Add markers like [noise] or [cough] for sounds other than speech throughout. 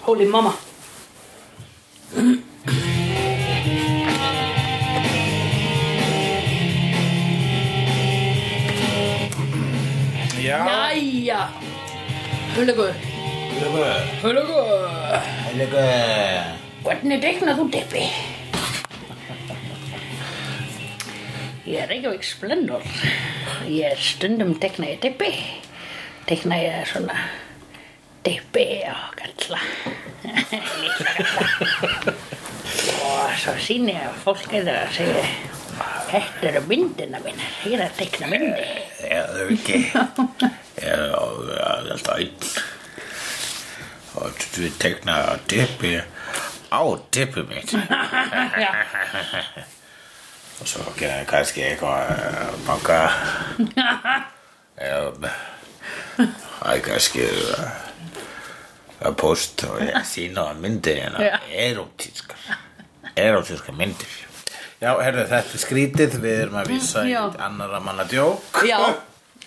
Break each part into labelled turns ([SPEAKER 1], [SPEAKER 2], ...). [SPEAKER 1] Holy mamma
[SPEAKER 2] Já,
[SPEAKER 1] Jæja Hulgu
[SPEAKER 2] Hulgu
[SPEAKER 1] Hulgu
[SPEAKER 2] Hulgu
[SPEAKER 1] Hvernig deiknað þú dippi? Ég er ekki á ekki splendor Ég er stundum deikna ég dippi Deikna ég svona Dippi og galla Litla galla. Og svo sýni ég að fólk er að segja Þetta eru myndina mín Ég er að deikna myndi
[SPEAKER 2] Já, það er
[SPEAKER 1] [laughs]
[SPEAKER 2] ekki Ég er á það er alltaf einn Og þú tegna á dippi Á dippi mitt
[SPEAKER 1] Já,
[SPEAKER 2] Og svo gera ég kannski eitthvað eh,
[SPEAKER 1] [laughs]
[SPEAKER 2] Banka um, Það er kannski eh, að post og ég sína á myndir
[SPEAKER 1] Já.
[SPEAKER 2] hérna erótískar erótískar myndir Já, herðu, þetta er skrítið við erum að vísa í
[SPEAKER 1] Já.
[SPEAKER 2] annara manna djók [laughs]
[SPEAKER 1] Já,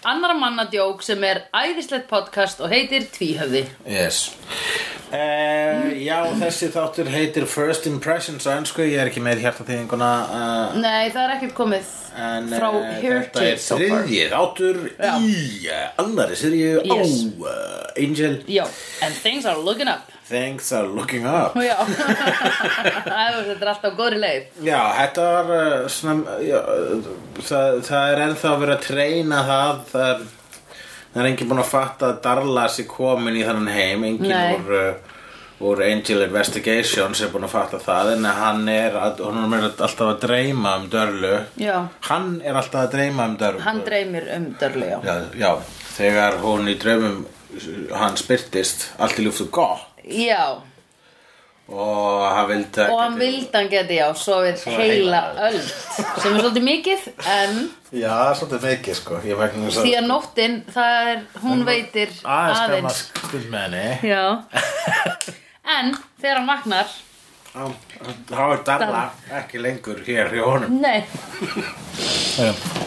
[SPEAKER 1] annar manna djók sem er æðislegt podcast og heitir Tvíhöfði
[SPEAKER 2] Yes. Uh, já, þessi þáttur heitir First Impressions á ennsku, ég er ekki með hjartaþýðinguna uh,
[SPEAKER 1] Nei, það er ekkert komið
[SPEAKER 2] en
[SPEAKER 1] frá
[SPEAKER 2] eh,
[SPEAKER 1] here
[SPEAKER 2] þetta
[SPEAKER 1] to
[SPEAKER 2] er þriðji þáttur í uh, annari seríu
[SPEAKER 1] Yes.
[SPEAKER 2] á uh, Angel
[SPEAKER 1] Já, and things are looking up
[SPEAKER 2] Thanks are looking up
[SPEAKER 1] [laughs] Já, Æ, þetta er alltaf góðri leið
[SPEAKER 2] Já, þetta var uh, svona, já, uh, það, það er ennþá verið að treyna það það er, það er enginn búin að fatta að Darlas er komin í þannan heim
[SPEAKER 1] Nei.
[SPEAKER 2] enginn úr, uh, úr Angel Investigations er búin að fatta það en hann er, að- honum er alltaf að dreyma um Dörlu
[SPEAKER 1] Já,
[SPEAKER 2] hann er alltaf að dreyma um Dörlu
[SPEAKER 1] hann dreymir um Dörlu, já
[SPEAKER 2] já, já, þegar hún í draumum uh, hann spyrtist allt í ljúftu gott
[SPEAKER 1] Já,
[SPEAKER 2] og hann vildi
[SPEAKER 1] og hann vildi hann geti, já, sofið heila öld sem er svolítið mikið, en
[SPEAKER 2] Já, svolítið veikið sko Ég vegna þess
[SPEAKER 1] því að nóttin, það er, hún veitir
[SPEAKER 2] aðeins
[SPEAKER 1] aðeins
[SPEAKER 2] gaman stund með henni
[SPEAKER 1] Já En þegar hann vaknar
[SPEAKER 2] þá er Darla ekki lengur hér hjá honum
[SPEAKER 1] Nei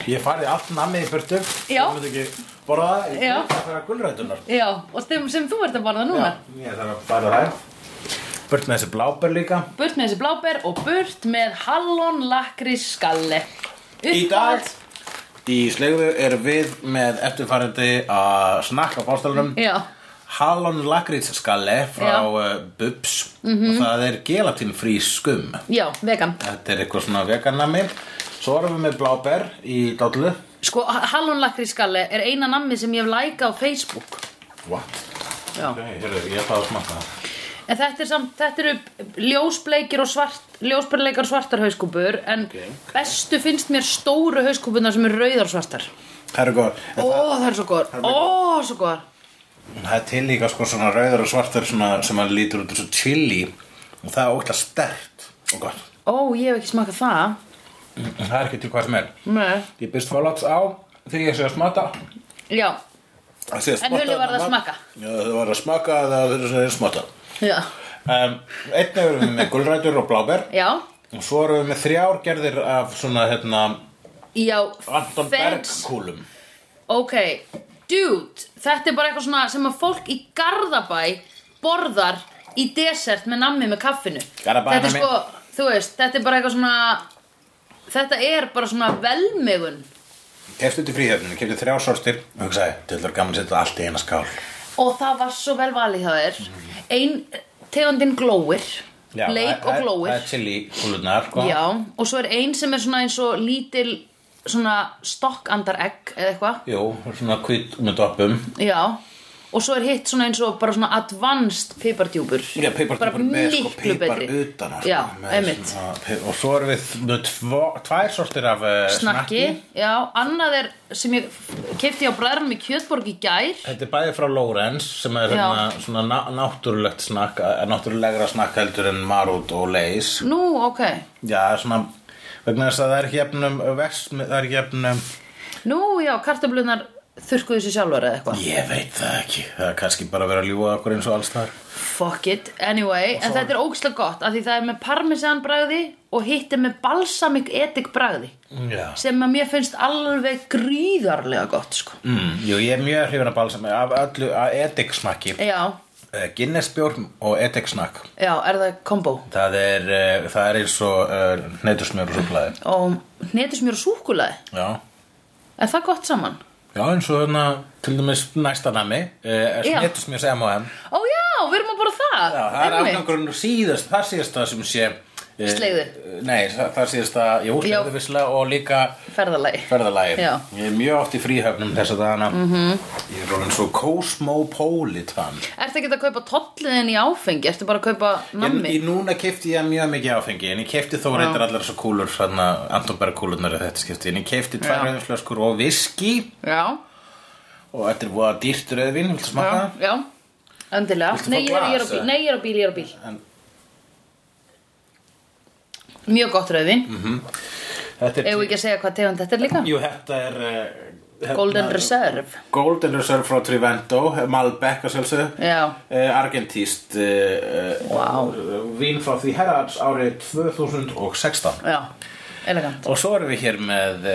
[SPEAKER 2] ég farið allt namið í burtu
[SPEAKER 1] Já.
[SPEAKER 2] ég myndi ekki borða það
[SPEAKER 1] Já.
[SPEAKER 2] ég þarf að fara gulrætunar
[SPEAKER 1] Já, og þeim sem þú ert að borða núna
[SPEAKER 2] ég þarf að fara það burt með þessi blábör líka
[SPEAKER 1] Burt með þessi bláber og burt með hallon lakri skalle
[SPEAKER 2] í dag í slegðu erum við með eftirfarandi að snakka á bástalunum
[SPEAKER 1] Já,
[SPEAKER 2] Hallon lakrítsskalle frá
[SPEAKER 1] Já. Mhm.
[SPEAKER 2] uh, Bubs og það er gelatinfrí skum
[SPEAKER 1] já, vegan
[SPEAKER 2] þetta er eitthvað svona veganami svo erum við með blábær í dollu
[SPEAKER 1] Sko, hallon lakri skalle er eina nammi sem ég hef læka á Facebook
[SPEAKER 2] what?
[SPEAKER 1] Já
[SPEAKER 2] Nei, heyrðu, ég ætla að smaka það.
[SPEAKER 1] En þetta er samt, þetta eru ljósbleikir og svart, ljósbleikar og svartar hauskúpur En bestu finnst mér stóru hauskúpurnar sem eru rauðar og svartar
[SPEAKER 2] Það er góð.
[SPEAKER 1] Ó, það er svo góðar, ó, svo góðar
[SPEAKER 2] Það er til líka sko svona rauður og svartur svona, sem að lítur út eins og chili og það er ógætlega stert og gott.
[SPEAKER 1] Ó, ég hef ekki smakað það
[SPEAKER 2] Það er ekki til hvað sem er.
[SPEAKER 1] Nei.
[SPEAKER 2] Ég byrst fóláts á þegar ég sé að smata.
[SPEAKER 1] Já, en hulli var það að smaka
[SPEAKER 2] Já, það var að smaka það er að smata.
[SPEAKER 1] Já,
[SPEAKER 2] Um, einnig erum við með gulrætur og bláber
[SPEAKER 1] [laughs] já,
[SPEAKER 2] og svo erum við með þrjár gerðir af svona hérna
[SPEAKER 1] já
[SPEAKER 2] Anton Berg
[SPEAKER 1] thanks.
[SPEAKER 2] kúlum.
[SPEAKER 1] Ok, dude, þetta er bara eitthvað svona sem að fólk í Garðabæ borðar í desert með nammi með kaffinu Þetta
[SPEAKER 2] Garðabæjarnammi.
[SPEAKER 1] er sko, þú veist, þetta er bara eitthvað svona Þetta er bara svona velmegun
[SPEAKER 2] Keftu til fríhjöfninu, keftu hérna, þrjár sortir og hugsaði, þetta er gaman að setja allt í eina skál.
[SPEAKER 1] Og það var svo vel valið hjá þér Ein, tegundin glóir
[SPEAKER 2] Já,
[SPEAKER 1] Leik
[SPEAKER 2] það-
[SPEAKER 1] og
[SPEAKER 2] það-
[SPEAKER 1] glóir
[SPEAKER 2] Það er chili kúlunar, sko.
[SPEAKER 1] Já, og svo er ein sem er svona eins og lítil svona stokkandar egg eða eitthvað
[SPEAKER 2] Jú, svona kvít með doppum
[SPEAKER 1] Já, og svo er hitt svona eins og bara svona advanced pipardjúbur
[SPEAKER 2] Já,
[SPEAKER 1] Bara
[SPEAKER 2] peipartjúpar með sko
[SPEAKER 1] miklu
[SPEAKER 2] peipar
[SPEAKER 1] betri.
[SPEAKER 2] utan á, sko,
[SPEAKER 1] Já,
[SPEAKER 2] með
[SPEAKER 1] einmitt.
[SPEAKER 2] svona pe- Og svo erum við með tvo, tvær sortir af uh,
[SPEAKER 1] Snakki,
[SPEAKER 2] snakki.
[SPEAKER 1] já, annað er sem ég kefti á bræðanum í Kjötborg í gær
[SPEAKER 2] Þetta er bæði frá Lorenz sem er
[SPEAKER 1] Já.
[SPEAKER 2] hérna, svona ná, náttúrulegt snakk eh, náttúrulegra snakk heldur en Marút og Leis
[SPEAKER 1] Nú, ok
[SPEAKER 2] Já, svona vegna þess að það er hjefnum vest, það er hjefnum
[SPEAKER 1] Nú, já, kartablunar þurrkuðu sér sjálfar eða eitthvað
[SPEAKER 2] Ég veit það ekki, það er kannski bara að vera að ljúga okkur eins og alls þar
[SPEAKER 1] Fuck it, anyway En þetta er ógislega gott, af því það er með parmesan bræði og hitt er með balsamic edik bræði
[SPEAKER 2] Já
[SPEAKER 1] sem að mér finnst alveg gríðarlega gott sko.
[SPEAKER 2] mm, Jú, ég er mjög hrifin að balsa með af öllu að edik snakki
[SPEAKER 1] Já,
[SPEAKER 2] Eh, Guinness bjórn og eteksnakk
[SPEAKER 1] Já, er það kombo?
[SPEAKER 2] það er, eh, það er eins og uh, neytusmjör og súklaði
[SPEAKER 1] Og hnetusmjör og súkkulaði
[SPEAKER 2] já.
[SPEAKER 1] Er það gott saman?
[SPEAKER 2] já, eins og þarna til dæmis næsta nami uh,
[SPEAKER 1] Já.
[SPEAKER 2] neytusmjör sem M&M
[SPEAKER 1] Ó já, við erum að borða það
[SPEAKER 2] já, það er
[SPEAKER 1] Einmitt.
[SPEAKER 2] afgangurinn og síðast það síðast það sem sé eh,
[SPEAKER 1] Slegður.
[SPEAKER 2] nei, það, það síðast það, jú,
[SPEAKER 1] Já.
[SPEAKER 2] slegðu visslega og líka
[SPEAKER 1] Ferðalagi
[SPEAKER 2] ferðalagi
[SPEAKER 1] Já. Mhm.
[SPEAKER 2] ég er mjög oft í fríhöfnum þess að dana -hmm. ég er orðin svo cosmopolitan
[SPEAKER 1] Ertu ekki að kaupa tolliðin í áfengi? Ertu bara að kaupa
[SPEAKER 2] Ég,
[SPEAKER 1] nammi?
[SPEAKER 2] ég núna kefti ég mjög mikið áfengi en ég kefti þó reyndar allar þessar kúlur svona Antonberg kúlurnar í þetta skipti en ég kefti tvær
[SPEAKER 1] Já.
[SPEAKER 2] rauðinflöskur og viski
[SPEAKER 1] Já,
[SPEAKER 2] og þetta er voða dýrt rauðvin, viltu
[SPEAKER 1] já,
[SPEAKER 2] smaka?
[SPEAKER 1] já Endilega
[SPEAKER 2] Viltu fá
[SPEAKER 1] Nei, ég er, ég er á
[SPEAKER 2] glas,
[SPEAKER 1] bíl,
[SPEAKER 2] eða?
[SPEAKER 1] nei, ég er á bíl, ég er á bíl
[SPEAKER 2] En-
[SPEAKER 1] Mjög gott rauðin mm.
[SPEAKER 2] Þetta er,
[SPEAKER 1] Eigum við ekki að segja hvað tegund þetta er líka?
[SPEAKER 2] Mhm. jú, þetta er eh, hérna-
[SPEAKER 1] Golden Reserve
[SPEAKER 2] Golden Reserve frá Trivento, Malbec að Eh, sjálfsög
[SPEAKER 1] Já.
[SPEAKER 2] Argentíst uh,
[SPEAKER 1] Vá.
[SPEAKER 2] Vín frá því herraðs árið 2016
[SPEAKER 1] Já, elegant
[SPEAKER 2] Og svo erum við hér með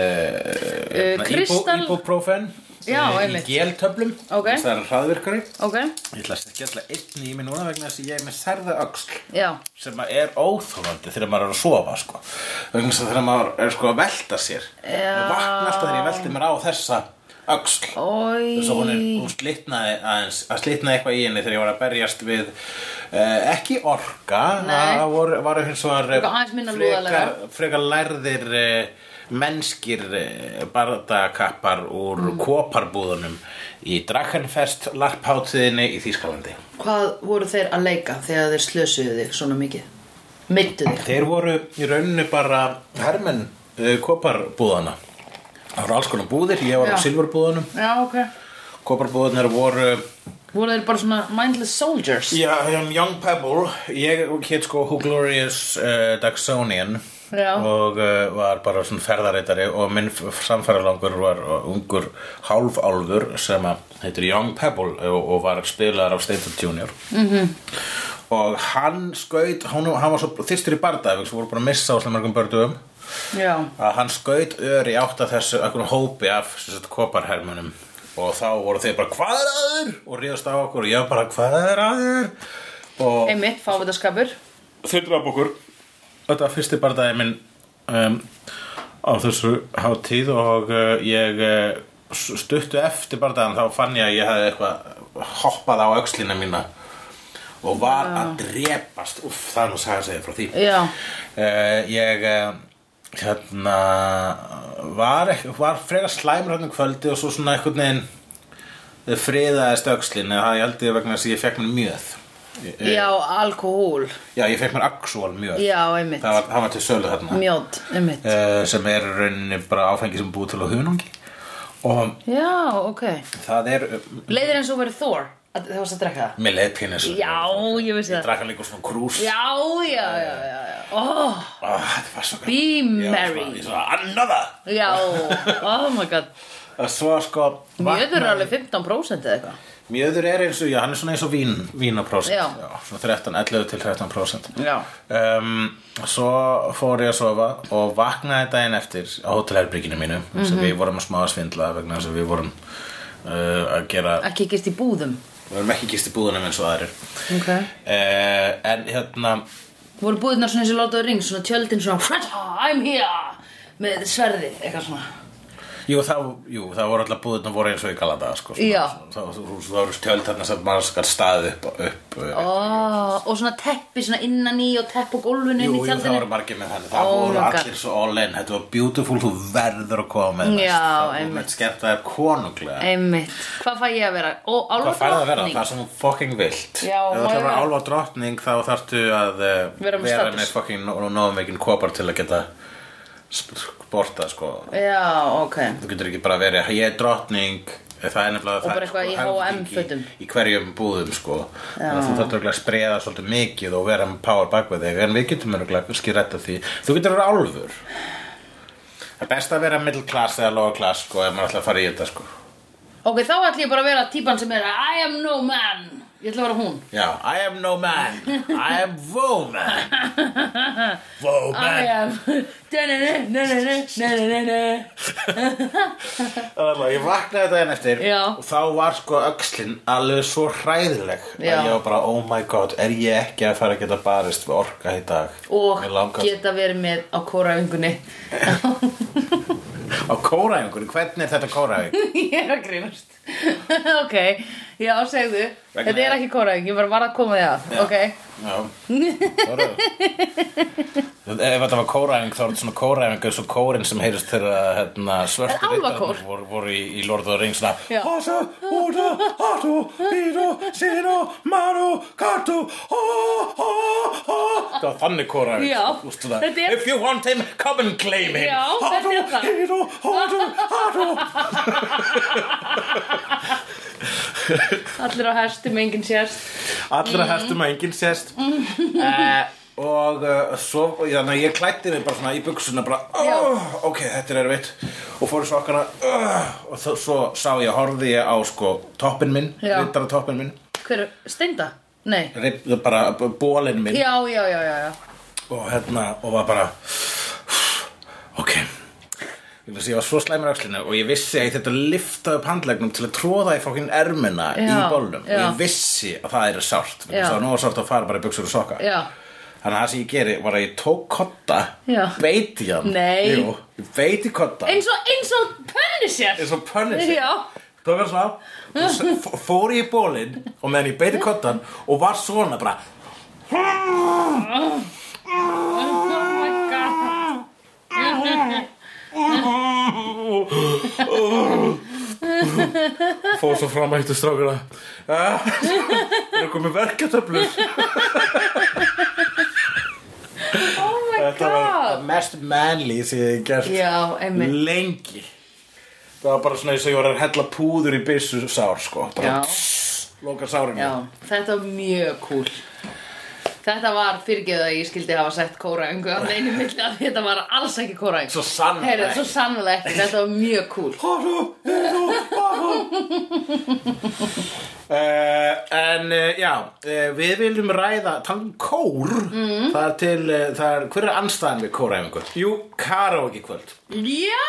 [SPEAKER 2] uh,
[SPEAKER 1] kristal-
[SPEAKER 2] Ibuprofen
[SPEAKER 1] Eh, Já,
[SPEAKER 2] eh,
[SPEAKER 1] einmitt.
[SPEAKER 2] Í geltöflum
[SPEAKER 1] Ok.
[SPEAKER 2] Það er hraðvirkari
[SPEAKER 1] Ok,
[SPEAKER 2] Ég ætla að skella einn í mig núna vegna þess að ég er með særða öxl
[SPEAKER 1] já,
[SPEAKER 2] sem að er óþólandi þegar maður er að sofa sko. vegna þess að þegar maður er sko að velta sér
[SPEAKER 1] Já.
[SPEAKER 2] og vakna alltaf þegar ég velti mér á þessa öxl
[SPEAKER 1] Oj.
[SPEAKER 2] þess að hún, er, hún slitnaði aðeins að slitnaði eitthvað í henni þegar ég var að berjast við eh, ekki orka
[SPEAKER 1] Nei.
[SPEAKER 2] það voru, varu hins vegar eh,
[SPEAKER 1] Eitthvað aðeins minna
[SPEAKER 2] frekar,
[SPEAKER 1] lúðalega.
[SPEAKER 2] frekar lærðir eh, mennskir eh, bardakappar úr mm. koparbúðunum í Drakenfest larpháttiðinni í Þýskalandi
[SPEAKER 1] Hvað voru þeir að leika þegar þeir slösuðu þig svona mikið? Myndu þig?
[SPEAKER 2] Þeir voru í rauninu bara hermenn uh, koparbúðana. Það voru alls konar búðir, ég var á
[SPEAKER 1] Já.
[SPEAKER 2] silfurbúðunum.
[SPEAKER 1] Já, ok
[SPEAKER 2] Koparbúðunar voru...
[SPEAKER 1] Voru þeir bara svona mindless soldiers?
[SPEAKER 2] Já, um, Young Pebble, ég hétt sko Who Glorious uh, Daxonian
[SPEAKER 1] Já.
[SPEAKER 2] og uh, var bara svona ferðarreitari og minn samfæralangur var uh, ungur hálfálfur sem að heitir Young Pebble uh, og, og var spilaðar af Steinfeld Junior. Og hann skaut, hann, hann var svo þyrstur í bardaði, við voru bara að missa á slemmargum bördugum.
[SPEAKER 1] Já.
[SPEAKER 2] að hann skaut ör í átt að þessu einhvern hópi af sem sagt, koparhermunum og þá voru þeir bara hvað er aður og ríðast á okkur og ég var bara hvað er aður og
[SPEAKER 1] Einmitt, fávitaskapur
[SPEAKER 2] þeir draf okkur þetta var fyrsti bardaði minn um, á þessu hátíð og uh, ég uh, stuttu eftir bardaðan þá fann ég að ég hefði eitthvað hoppað á öxlina mína og var að drepast uff, það er nú saga að segja frá því
[SPEAKER 1] Já,
[SPEAKER 2] uh, ég uh, hérna var, ekk- var frekar slæmur hérna um kvöldi og svo svona einhvern veginn eh, friðaðist öxlin eða það ég held ég vegna þess að ég fekk mér mjöð Eh,
[SPEAKER 1] já, alkohól
[SPEAKER 2] já, ég fekk mér actual mjöð
[SPEAKER 1] Já,
[SPEAKER 2] það
[SPEAKER 1] einmitt
[SPEAKER 2] var, það var til sölu þarna
[SPEAKER 1] Mjótt, einmitt
[SPEAKER 2] uh, sem er í rauninni bara áfengi sem er búið til á hunungi og
[SPEAKER 1] Já, ok
[SPEAKER 2] það er
[SPEAKER 1] Leiðir eins og verið Thor að- Þegar varst að drekka það
[SPEAKER 2] með leipinnes
[SPEAKER 1] Já, ég vissi það.
[SPEAKER 2] ég drakk hann líka úr svona krús
[SPEAKER 1] Já, já, já, já, já Ó,
[SPEAKER 2] ah, það var svo
[SPEAKER 1] be
[SPEAKER 2] Ég var svona-
[SPEAKER 1] merry
[SPEAKER 2] ég svona, another
[SPEAKER 1] Já, oh my god
[SPEAKER 2] og svo sko
[SPEAKER 1] Mjöður er alveg 15% eða eitthvað
[SPEAKER 2] Mjöður er eins og, já, hann er svona eins og vín, vínaprósent,
[SPEAKER 1] Já.
[SPEAKER 2] svona 13, 11 til 13 prósent.
[SPEAKER 1] Já.
[SPEAKER 2] Um, svo fór ég að sofa og vaknaði daginn eftir á hótelherbygginu mínu, mm
[SPEAKER 1] Mhm.
[SPEAKER 2] sem við vorum að smá að svindla vegna þess að við vorum uh, að gera,
[SPEAKER 1] Ekki gist í búðum
[SPEAKER 2] við vorum ekki gist í búðunum eins og aðrir.
[SPEAKER 1] Ok
[SPEAKER 2] Uh, en hérna,
[SPEAKER 1] Voru búðirnar svona eins og látaðu ring Svona tjöldin svona "Frata, I'm here Með sverðið, eitthvað svona
[SPEAKER 2] Jú, það, jú, það voru alltaf búðirna voru eins og í galanda, sko. svona-
[SPEAKER 1] Já.
[SPEAKER 2] Svo, svo, svo, svo voru tjöld þarna sem maður skal staðið upp, upp oh,
[SPEAKER 1] Ó, og svona teppi svona innan í og tepp á gólfinu inn í
[SPEAKER 2] Jú, jú, það voru
[SPEAKER 1] tjaldinu
[SPEAKER 2] margir með þannig Það
[SPEAKER 1] Oh
[SPEAKER 2] voru
[SPEAKER 1] my God.
[SPEAKER 2] allir svo all in Þetta var beautiful, þú verður að koma með
[SPEAKER 1] Já, einmitt.
[SPEAKER 2] einmitt Skert það er konunglega
[SPEAKER 1] Einmitt, hvað fæ ég að vera? Og
[SPEAKER 2] Hvað færði að vera?
[SPEAKER 1] álfadrottning
[SPEAKER 2] Það sem þú fucking vilt
[SPEAKER 1] Já, má
[SPEAKER 2] Ef
[SPEAKER 1] ég
[SPEAKER 2] þú ætlar að vera
[SPEAKER 1] vera?
[SPEAKER 2] álfa drottning þá þarftu að eh,
[SPEAKER 1] Vera með
[SPEAKER 2] vera
[SPEAKER 1] status.
[SPEAKER 2] með fucking og náðum ekki kopar til að geta sp- sportað sko
[SPEAKER 1] Já, ok
[SPEAKER 2] Þú getur ekki bara verið ég er drottning Það er nefnilega það
[SPEAKER 1] bara eitthvað í
[SPEAKER 2] sko,
[SPEAKER 1] H&M
[SPEAKER 2] hefðing
[SPEAKER 1] fötum.
[SPEAKER 2] í, í hverjum búðum sko Þannig að þú þarftu örugglega að spreða svolítið mikið og vera með power bak við þig En við getum örugglega skýrætt af því Þú getur að vera álfur Það er best að vera middle class eða lower class sko Ef maður ætla að fara í þetta sko
[SPEAKER 1] Ok, þá ætlum ég bara að vera típan sem er I am no man ég ætla að vera hún
[SPEAKER 2] Já, I am no man, I am woman
[SPEAKER 1] I [laughs]
[SPEAKER 2] Woman
[SPEAKER 1] am [laughs] Da-na-na-na-na-na-na-na-na.
[SPEAKER 2] Alla, Ég vaknaði daginn eftir
[SPEAKER 1] Já.
[SPEAKER 2] og þá var sko öxlin alveg svo hræðileg
[SPEAKER 1] Já.
[SPEAKER 2] að ég var bara, oh my god, er ég ekki að fara að geta barist við orka í dag Mig
[SPEAKER 1] Og
[SPEAKER 2] langar-
[SPEAKER 1] geta verið með á kóraöngunni [laughs]
[SPEAKER 2] Á kóraæfingunni, hvernig er þetta kóraæfing?
[SPEAKER 1] Ég er að grínast [laughs] Ok, já, segðu
[SPEAKER 2] Vegna-
[SPEAKER 1] Þetta er ekki kóraöng, ég bara var að koma því að Ok,
[SPEAKER 2] Já, Þóra. Ef þetta var kóræfing þá er þetta svona kóræfing eins og kórin sem heyrist þegar hérna, svörtu
[SPEAKER 1] Álfakór.
[SPEAKER 2] riddararnir voru, voru í, í Lord of the Rings svona
[SPEAKER 1] Já.
[SPEAKER 2] Hasa, Húta, Hatu, Hítu, Sinu, Maru, Katu, Hó, Hó, Hó Það var þannig kóræfing
[SPEAKER 1] Já,
[SPEAKER 2] Ústu það
[SPEAKER 1] þetta er-
[SPEAKER 2] If you want him, come and claim him
[SPEAKER 1] Já, þetta
[SPEAKER 2] Hatu,
[SPEAKER 1] er það.
[SPEAKER 2] Hítu, Hútu, Hatu
[SPEAKER 1] allir á hestum, enginn sérst
[SPEAKER 2] Allra mm. hertum að enginn
[SPEAKER 1] [laughs]
[SPEAKER 2] sést uh, Og uh, svo, þannig að ég klætti mig bara svona í buksuna bara,
[SPEAKER 1] Já.
[SPEAKER 2] oh, ok, þetta er erfitt og fór í sokkana uh, og þó, svo sá ég, horfði ég á sko toppin minn,
[SPEAKER 1] Já.
[SPEAKER 2] rittara toppin minn
[SPEAKER 1] Hver, steinda? Nei
[SPEAKER 2] rip, bara b- bólinn minn
[SPEAKER 1] Já, já, já, já, já
[SPEAKER 2] og hérna, og var bara ok Ég vissi, ég var svo slæmur axlinu og ég vissi að ég þetta lifta upp handlegnum til að tróða í fókinn ermina í
[SPEAKER 1] Já,
[SPEAKER 2] bólnum og
[SPEAKER 1] já.
[SPEAKER 2] ég vissi að það er sárt
[SPEAKER 1] Já.
[SPEAKER 2] það var nóg sárt að fara bara í buksur og sokka
[SPEAKER 1] Já,
[SPEAKER 2] Þannig að það sem ég geri var að ég tók kotta,
[SPEAKER 1] Já.
[SPEAKER 2] beit í hann
[SPEAKER 1] Nei.
[SPEAKER 2] Jú, ég beit í kotta
[SPEAKER 1] eins og, eins og pönni sér
[SPEAKER 2] eins og pönnis
[SPEAKER 1] Já.
[SPEAKER 2] Tók hann svona og s- f- fór ég í bólinn og meðan ég beit í kottan og var svona bara
[SPEAKER 1] Oh my god
[SPEAKER 2] fór svo fram að hittu strákuna Ah, Það er komið verkatöflur
[SPEAKER 1] Oh my
[SPEAKER 2] Þetta var
[SPEAKER 1] god
[SPEAKER 2] mest manly sem ég hef gert
[SPEAKER 1] Já, einmitt
[SPEAKER 2] lengi Það var bara svona eins og ég var að hella púður í byssu sár sko bara
[SPEAKER 1] Já,
[SPEAKER 2] Lóka sárinu
[SPEAKER 1] já, þetta var mjög cool Þetta var fyrirgeðu að ég skildi hafa sett kóraöngu að neinu milli að þetta var alls ekki kóraöng
[SPEAKER 2] Svo sannarlega
[SPEAKER 1] Heyrðu, svo sannlega ekki, þetta var mjög cool
[SPEAKER 2] Haru, heru, [laughs] haru Uh, en uh, já, uh, við viljum ræða tala um kór mm. það er til, uh, það er, hver er anstæðan við kóræfingu? Jú, karaoke kvöld
[SPEAKER 1] Já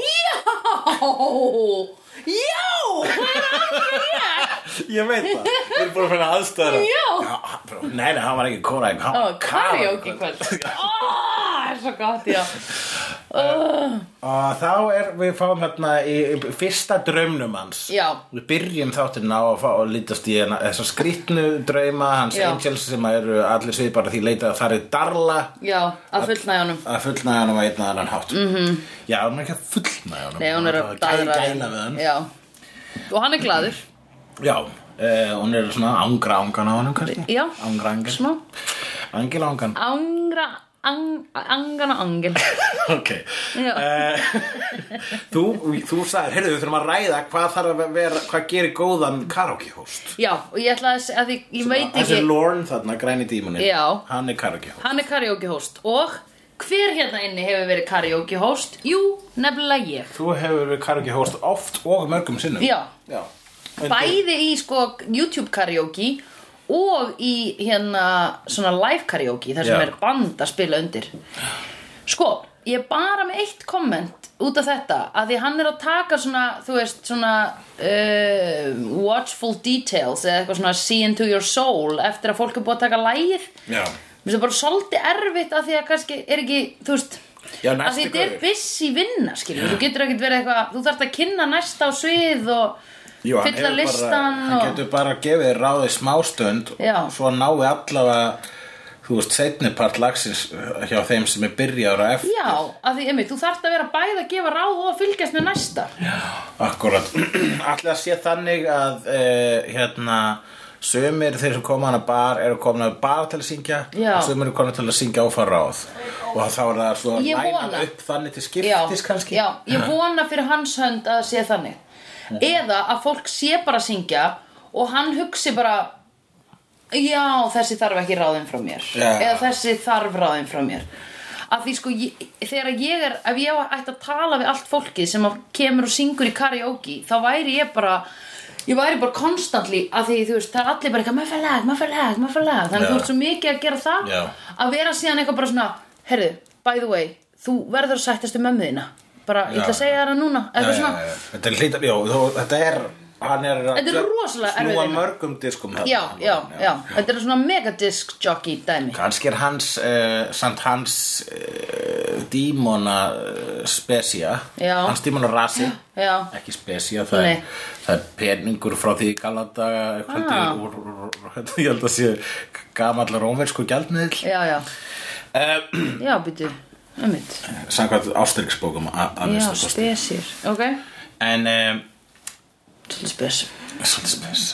[SPEAKER 1] Já Já Hvað er að
[SPEAKER 2] Ég veit það, við erum búin að finna aðstæðan
[SPEAKER 1] Já.
[SPEAKER 2] Nei, nei, hann var ekki kóræfingu hann
[SPEAKER 1] Það
[SPEAKER 2] var
[SPEAKER 1] var karaoke kvöld Ó, það er svo gott, já
[SPEAKER 2] Og þá er, við fáum hérna í, í fyrsta draumnum hans
[SPEAKER 1] Já.
[SPEAKER 2] Við byrjum þáttinn á að fá að lítast í hana, þessa skrýtnu drauma hans
[SPEAKER 1] Já.
[SPEAKER 2] angels sem eru allir svið bara því leita að það er darla
[SPEAKER 1] Já, að fullna honum
[SPEAKER 2] að fullnæða hann á einn að annan hátt mm -hmm. Já, hún er ekki að fullnæða hann
[SPEAKER 1] Mhm. Nei, hún er að daðra
[SPEAKER 2] Gæla við hann
[SPEAKER 1] Já Og hann er glaður
[SPEAKER 2] Já, eh, hún er svona ángra ángan á hann kannski
[SPEAKER 1] Já.
[SPEAKER 2] Ángra ángan
[SPEAKER 1] Smá
[SPEAKER 2] Angil ángan
[SPEAKER 1] Angra ang, Angana angel
[SPEAKER 2] [laughs] Ok
[SPEAKER 1] Já.
[SPEAKER 2] eh, Þú, þú sagðir, heyrðu, við þurfum að ræða hvað þarf að vera, hvað gerir góðan karaoke host
[SPEAKER 1] Já, og ég ætla að segja að ég, ég veit
[SPEAKER 2] Þessi
[SPEAKER 1] ekki
[SPEAKER 2] Lorne þarna, græni dímunin
[SPEAKER 1] Já.
[SPEAKER 2] Hann er karaoke host
[SPEAKER 1] Hann er karaoke host Og hver hérna inni hefur verið karaoke host? Jú, nefnilega ég
[SPEAKER 2] Þú hefur verið karaoke host oft og mörgum sinnum
[SPEAKER 1] Já.
[SPEAKER 2] Já.
[SPEAKER 1] bæði í sko YouTube karaoke og í hérna svona live karaoke þar sem
[SPEAKER 2] Já.
[SPEAKER 1] er band að spila undir sko, ég er bara með eitt komment út af þetta, að því hann er að taka svona, þú veist, svona uh, watchful details eða eitthvað svona see into your soul eftir að fólk er búið að taka lægir
[SPEAKER 2] Já.
[SPEAKER 1] Mér finnst það bara svolítið erfitt að því að kannski er ekki, þú veist
[SPEAKER 2] Já,
[SPEAKER 1] að
[SPEAKER 2] næsti
[SPEAKER 1] því þetta er
[SPEAKER 2] gaur.
[SPEAKER 1] busy vinna, skilur þú getur ekkert verið eitthvað, þú þarft að kynna næsta á svið og
[SPEAKER 2] Jú, hann
[SPEAKER 1] fylla
[SPEAKER 2] hefur
[SPEAKER 1] listan
[SPEAKER 2] bara, Hann
[SPEAKER 1] og
[SPEAKER 2] getur bara gefið þér ráðið smástönd
[SPEAKER 1] Já.
[SPEAKER 2] og svo náu allavega þú veist, setni part lagsins hjá þeim sem er byrjaður að eftir
[SPEAKER 1] Já, að því, emi, þú þarft að vera bæði að gefa ráð og að fylgjast með næsta
[SPEAKER 2] [clears throat] Akkurat Allir að sé þannig að uh, hérna Sumir þeir sem koma hann að bar eru komin að bar til að syngja
[SPEAKER 1] Já.
[SPEAKER 2] og sumir eru komin til að syngja áfara ráð og þá er það svo að
[SPEAKER 1] Ég
[SPEAKER 2] læna
[SPEAKER 1] vona.
[SPEAKER 2] upp þannig til
[SPEAKER 1] Já,
[SPEAKER 2] skiptis kannski
[SPEAKER 1] já, ég vona fyrir hans hönd að það sé þannig Eða að fólk sé bara að syngja og hann hugsi bara Já, þessi þarf ekki ráðin frá mér
[SPEAKER 2] Já.
[SPEAKER 1] Eða þessi þarf ráðin frá mér Að því sko, ég, þegar ég er Ef ég ætti að tala við allt fólkið sem að kemur og syngur í karaoke Þá væri ég bara ég væri bara konstantli að því þú veist, það er allir bara eitthvað maður fær lag, maður fær lag, maður fær lag þannig
[SPEAKER 2] Já.
[SPEAKER 1] að þú ert svo mikið að gera það
[SPEAKER 2] Já.
[SPEAKER 1] að vera síðan eitthvað bara svona herðu, by the way, þú verður að sættast um mömmuðina bara, ég
[SPEAKER 2] Já.
[SPEAKER 1] ætla að segja þér það núna
[SPEAKER 2] Já,
[SPEAKER 1] eitthvað
[SPEAKER 2] já,
[SPEAKER 1] svona,
[SPEAKER 2] já. Þetta er hlýtar, já, þó, þetta er hann er að
[SPEAKER 1] Þetta er rosalega erfið
[SPEAKER 2] snúa
[SPEAKER 1] vinna.
[SPEAKER 2] mörgum diskum þarna.
[SPEAKER 1] já, já, já þetta er svona megadisk jockey dæmi
[SPEAKER 2] Kannski er hans, uh, samt hans uh, dímona uh, spesía,
[SPEAKER 1] Já.
[SPEAKER 2] hans dímona rasi,
[SPEAKER 1] já,
[SPEAKER 2] ekki spesía, það
[SPEAKER 1] Nei.
[SPEAKER 2] er, það er peningur frá því galanda,
[SPEAKER 1] Ah.
[SPEAKER 2] ég held að sé gamall rómversku gjaldmiðl.
[SPEAKER 1] já, já,
[SPEAKER 2] Uh,
[SPEAKER 1] já, býtu ummitt,
[SPEAKER 2] Samkvæmt ástyrksbókum að að
[SPEAKER 1] já,
[SPEAKER 2] minnsta kosti.
[SPEAKER 1] spesir ok,
[SPEAKER 2] En... Um,
[SPEAKER 1] svolítið spes
[SPEAKER 2] Svolítið spes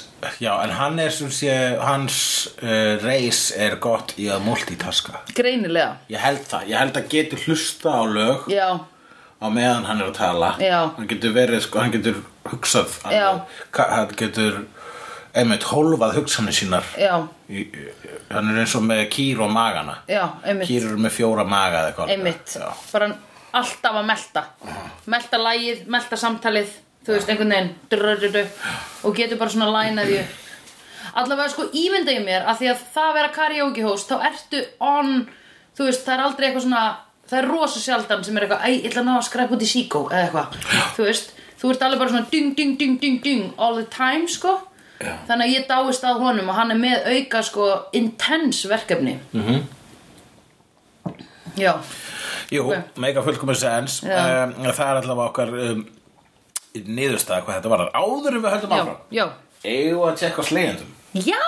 [SPEAKER 2] Já, en hann er sem sé, hans uh, reis er gott í að multitaska
[SPEAKER 1] greinilega,
[SPEAKER 2] Ég held það, ég held að getur hlusta á lög
[SPEAKER 1] já,
[SPEAKER 2] á meðan hann er að tala
[SPEAKER 1] Já.
[SPEAKER 2] Hann getur verið, sko, hann getur hugsað
[SPEAKER 1] Já.
[SPEAKER 2] hann, ka- hann getur einmitt hólfað hugsanir sínar
[SPEAKER 1] já
[SPEAKER 2] í, í, Hann er eins og með kýr og magana
[SPEAKER 1] Já, einmitt.
[SPEAKER 2] Kýr eru með fjóra maga eða eitthvað
[SPEAKER 1] einmitt,
[SPEAKER 2] Já,
[SPEAKER 1] bara alltaf að melta melta lagið, melta samtalið þú veist, einhvern veginn drr, drr, drr, og getur bara svona lænað því upp. allavega sko ímynda ég mér að því að það að vera karaoke host, þá ertu on, þú veist, það er aldrei eitthvað svona það er rosa sjaldan sem er eitthvað æ, ég ætla að ná að skræpa út í síkó eða eitthvað þú veist, þú ert alveg bara svona ding, ding, ding, ding, ding all the time, sko
[SPEAKER 2] Já.
[SPEAKER 1] þannig að ég dáist að honum og hann er með auka sko intense verkefni mm -hmm. já
[SPEAKER 2] Jú,
[SPEAKER 1] Ok.
[SPEAKER 2] mega fullkomur sens um,
[SPEAKER 1] Já.
[SPEAKER 2] Það er allavega okkar um, niðurstaða hvað þetta var Áður en við höldum
[SPEAKER 1] já,
[SPEAKER 2] áfram
[SPEAKER 1] já.
[SPEAKER 2] Eigum við að tjekka slegjandum?
[SPEAKER 1] já,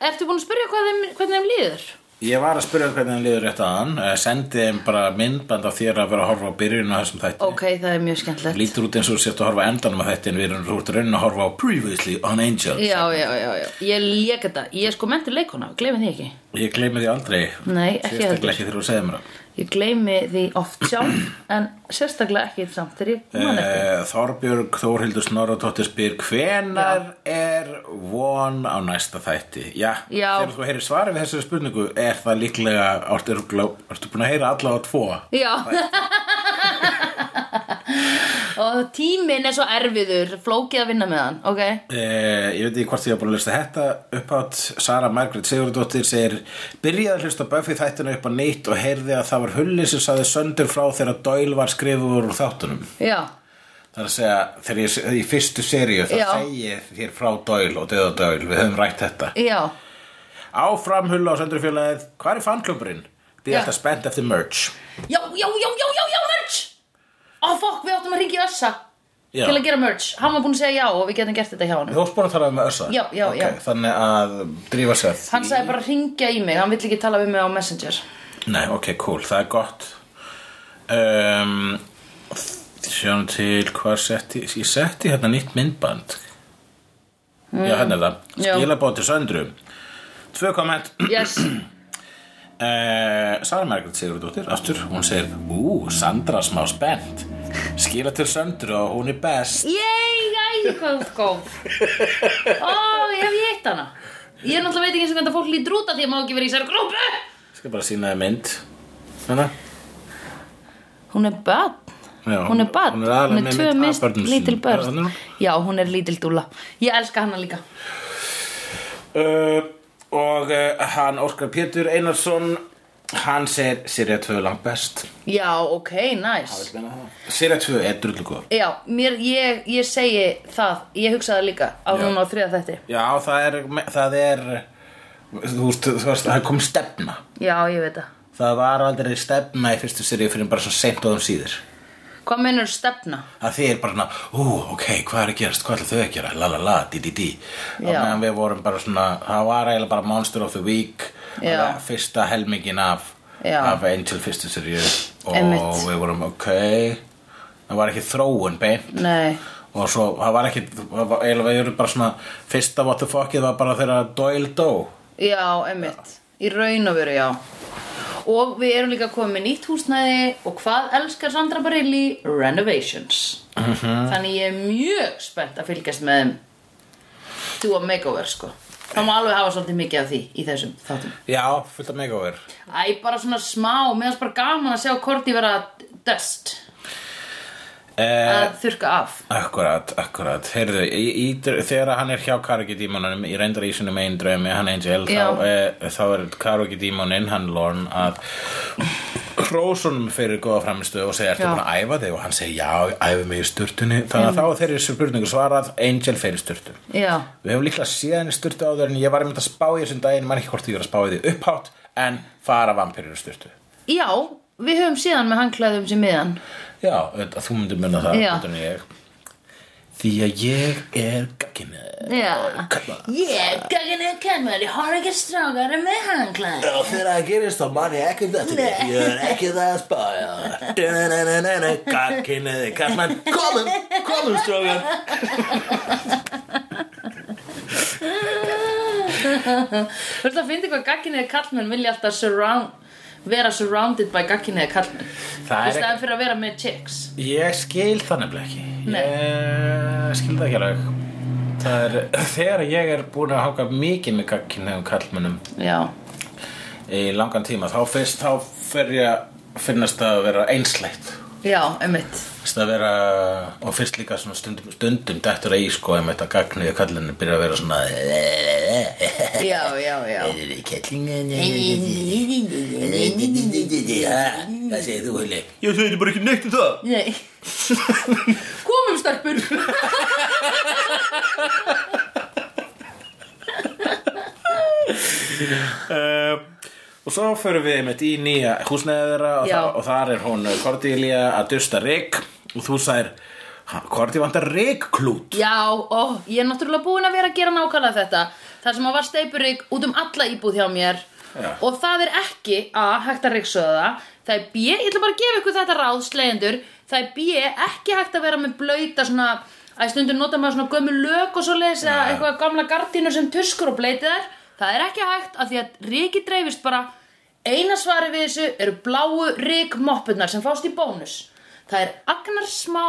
[SPEAKER 1] ertu búin að spyrja hvað þeim, hvernig þeim líður?
[SPEAKER 2] Ég var að spyrja hvernig hann liður rétt að hann Eh, Sendi þeim bara myndband af þér að vera að horfa á byrjun á þessum þætti
[SPEAKER 1] Ok, það er mjög skemmtilegt
[SPEAKER 2] Lítur út eins og þú sért að horfa á endanum af þætti En við erum út raunin að horfa á Previously on Angel
[SPEAKER 1] Já, já, já, já, ég lék þetta Ég er sko mentur leikona, gleymi því ekki
[SPEAKER 2] Ég gleymi því aldrei
[SPEAKER 1] Nei, ekki heldur.
[SPEAKER 2] Sérstaklega ekki þegar þú segir mér það
[SPEAKER 1] Ég gleymi því oft sjálf En sérstaklega ekki samt þegar ég man ekki
[SPEAKER 2] Eh, Þorbjörg Þórhildur Snorratóttir spyr hvenar er von á næsta þætti já,
[SPEAKER 1] Já.
[SPEAKER 2] þegar þú heyrir svarið við þessari spurningu er það líklega, ertu, örugglega- ertu búin að heyra allavega tvo
[SPEAKER 1] Já [laughs] Og tíminn er svo erfiður Flókið að vinna með hann, ok
[SPEAKER 2] Eh, ég veit ekki hvort ég hef búin að hlusta þetta uppátt Sara Margrét Sigurðardóttir segir byrjaði að hlusta Buffy þættina upp á neitt og heyrði að það var hulli sem saði söndur frá þegar Doyle var skrifur úr þáttunum
[SPEAKER 1] Já,
[SPEAKER 2] Það er að segja, þegar ég, í fyrstu seríu þá
[SPEAKER 1] Já.
[SPEAKER 2] segi ég þér frá Doyle og döða Doyle, við höfum rætt þetta
[SPEAKER 1] já,
[SPEAKER 2] Áfram hulla á söndurfélagið Hvar er fanklubburinn? Býð
[SPEAKER 1] Já.
[SPEAKER 2] alltaf spennt eftir merch
[SPEAKER 1] já, já, já, já, já, já, merch Ó, fokk, við áttum að ringi Össa
[SPEAKER 2] Já.
[SPEAKER 1] Til að gera merch, hann var búin að segja já Og við getum gert þetta hjá hann
[SPEAKER 2] Þú spór að tala um össa?
[SPEAKER 1] Já, já,
[SPEAKER 2] Ok,
[SPEAKER 1] já.
[SPEAKER 2] Þannig að drífa sér
[SPEAKER 1] Hann sagði bara ringja í mig, hann vill ekki tala við mig á Messenger
[SPEAKER 2] Nei, ok, cool, það er gott um, Sjáum til hvað setti Ég setti hérna nýtt myndband Já, hérna er það
[SPEAKER 1] Mm. Já.
[SPEAKER 2] Skilabóti söndrum Tvö komment
[SPEAKER 1] Yes,
[SPEAKER 2] Eh, Sara Margrét Sigurðardóttir aftur, hún segir, ú, Sandra smá spennt skila til söndru og hún er best
[SPEAKER 1] yey, æði hvað þú ert góð Ó, ég hef ég hitt hana Ég er náttúrulega veit ekki eins og hvernig þetta fólk lítur út af því að má ekki vera í sér grúpu
[SPEAKER 2] Ég skal bara sína þið mynd Hanna?
[SPEAKER 1] Hún er bad
[SPEAKER 2] Já,
[SPEAKER 1] Hún er bad,
[SPEAKER 2] hún er aðalega með
[SPEAKER 1] tvö
[SPEAKER 2] mynd af
[SPEAKER 1] mist,
[SPEAKER 2] börnum sínum.
[SPEAKER 1] lítil
[SPEAKER 2] Já,
[SPEAKER 1] börn
[SPEAKER 2] þannig.
[SPEAKER 1] Já, hún er lítil dúla Ég elska hana líka
[SPEAKER 2] uh, og uh, hann Óskar Pétur Einarsson hann segir Sirja 2 er langt best
[SPEAKER 1] Já, ok, nice
[SPEAKER 2] Sirja 2 er drullu góð
[SPEAKER 1] Já, mér, ég, ég segi það Ég hugsa það líka á hún á þriða þetta
[SPEAKER 2] já, það er, það er þú veist, þú veist, það kom stefna
[SPEAKER 1] Já, ég veit það
[SPEAKER 2] það var aldrei stefna í fyrstu Sirja fyrir bara svo seint og um síður
[SPEAKER 1] Hvað mennur stefna?
[SPEAKER 2] að þið er bara svona, ú, ok, hvað er að gerast, hvað ætla þau að gera, la la la, di di di og
[SPEAKER 1] Já.
[SPEAKER 2] meðan við vorum bara svona, það var eiginlega bara Monster of the Week
[SPEAKER 1] Já.
[SPEAKER 2] að fyrsta helmingin af,
[SPEAKER 1] Já.
[SPEAKER 2] af Angel fyrstu seríu og
[SPEAKER 1] Einmitt.
[SPEAKER 2] við vorum, ok það var ekki þróun beint
[SPEAKER 1] Nei
[SPEAKER 2] og svo, það var ekki, það var eiginlega við vorum bara svona, fyrsta what the fuckið var bara þegar Doyle dó
[SPEAKER 1] Já, emmitt, í raun og veru, já Og við erum líka komið með nýtt húsnæði og hvað elskar Sandra Bareilly? Renovations Þannig ég er mjög spennt að fylgjast með þeim Do a makeover, sko Það má alveg hafa svolítið mikið af því í þessum þáttum
[SPEAKER 2] já, fullt af megaver
[SPEAKER 1] Æ, bara svona smá, meðan bara gaman að sjá Korti vera dust
[SPEAKER 2] Eh,
[SPEAKER 1] að þurka af
[SPEAKER 2] Akkurat, akkurat, heyrðu, í, í, þegar hann er hjá Karagi-dímonunum í reyndar í sinum einn draumi, hann Angel,
[SPEAKER 1] Já.
[SPEAKER 2] þá, e, þá er Karagi-dímoninn, hann Lorne, að hrósunum fyrir góða framistu og segja, ertu
[SPEAKER 1] Já.
[SPEAKER 2] búin að æfa þig? Og hann segir, já, ég æfi mig í sturtunni, þannig að þá er þeirri spurningu svarað, Angel fer í sturtu.
[SPEAKER 1] já,
[SPEAKER 2] Við höfum líklega síðan í sturtu áður en ég var einmitt að spá í þessum daginn, mann ekki hvort ég var að spá í því upphátt, en fara vampirur í sturtu.
[SPEAKER 1] já við höfum síðan með hangklæðum sem miðan
[SPEAKER 2] Já, auðvitað, þú myndir munna það,
[SPEAKER 1] Já.
[SPEAKER 2] betur en ég. Því að ég er gagkinnið.
[SPEAKER 1] já
[SPEAKER 2] Kalla.
[SPEAKER 1] ég ganginu kennmæri har ekki strákar með hangklæð
[SPEAKER 2] Og þegar það gerist þá man ég ekki þetta Nei. Ég er ekki það að spája Gagkinniði kallmann Komum, komum strókar
[SPEAKER 1] Þú veist að fyndi hvað gagkinniði kallmenn vilja alltaf surround, vera surrounded by gagkinniði kallmenn
[SPEAKER 2] Það
[SPEAKER 1] Í
[SPEAKER 2] er
[SPEAKER 1] staðan fyrir að vera með chicks
[SPEAKER 2] Ég skil það nefnilega ekki
[SPEAKER 1] Nei.
[SPEAKER 2] Ég skil það ekki alveg Það er, þegar ég er búin að háka mikið með gagkinniðum kallmannum
[SPEAKER 1] Já,
[SPEAKER 2] í langan tíma þá fyrst þá fer ég finnast það að vera einsleitt
[SPEAKER 1] já, einmitt
[SPEAKER 2] Fyrst að vera, og fyrst líka svona stundum, stundum dættur að í sko um þetta gagnið kallinu byrja að vera svona
[SPEAKER 1] Já, já, já
[SPEAKER 2] [laughs] Kettlingan Það segir þú Hulli Ég segir bara ekki neitt um það
[SPEAKER 1] Nei [laughs] Komum stelpur
[SPEAKER 2] Eh, Og svo förum við einmitt í nýja húsnæði þeirra og,
[SPEAKER 1] Já.
[SPEAKER 2] þa og þar er hún eh, Cordelia að dusta Rick og þú sagir "Ha, Cordy vantar Rick klút
[SPEAKER 1] Já, ó, ég er náttúrulega búin að vera að gera nákvæmlega þetta Þar sem að var steipurík út um alla íbúð hjá mér
[SPEAKER 2] Já.
[SPEAKER 1] Og það er ekki A, hægt að ríksöða það Það er B, ég ætla bara að gefa ykkur þetta ráð, slegjendur Það er B, ekki hægt að vera með blöyta svona Að stundum nota maður svona gömul lög og svo lesa ja. Eitthvað gamla gardínu sem tuskur og bleitiðar Það er ekki hægt að því að ríki dreifist bara Eina svari við þessu eru bláu ríkmoppurnar sem fást í bónus Það er agnar smá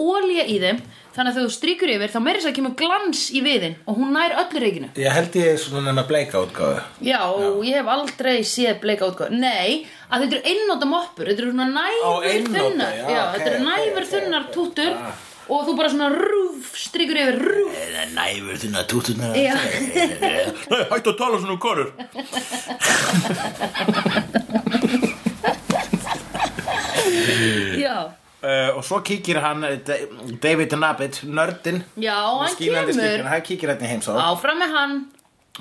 [SPEAKER 1] ólía í þeim Þannig að þegar þú strýkur yfir þá meiri þess að kemur glans í viðin Og hún nær öllu reikinu
[SPEAKER 2] Ég held ég svona nema bleika útgáðu
[SPEAKER 1] Já, ég hef aldrei séð bleika útgáð Nei, að þetta eru einnóta moppur Þetta eru svona
[SPEAKER 2] Á,
[SPEAKER 1] næfur
[SPEAKER 2] einnota,
[SPEAKER 1] þunnar
[SPEAKER 2] já,
[SPEAKER 1] Já,
[SPEAKER 2] ok,
[SPEAKER 1] þetta eru
[SPEAKER 2] ok,
[SPEAKER 1] næfur
[SPEAKER 2] ok, Ah.
[SPEAKER 1] þunnar
[SPEAKER 2] ok.
[SPEAKER 1] tútur Og þú bara svona rúf, strýkur yfir rúf
[SPEAKER 2] Næfur þunna tútunar
[SPEAKER 1] Já.
[SPEAKER 2] [laughs] Nei, hættu að tala svona um konur
[SPEAKER 1] Já,
[SPEAKER 2] Uh, og svo kíkir hann eh, Da- David Nabbit, nördin
[SPEAKER 1] já,
[SPEAKER 2] með
[SPEAKER 1] hann
[SPEAKER 2] skínandi skikkjuna,
[SPEAKER 1] kemur
[SPEAKER 2] hann kíkir hann í heimsóð
[SPEAKER 1] Áfram með hann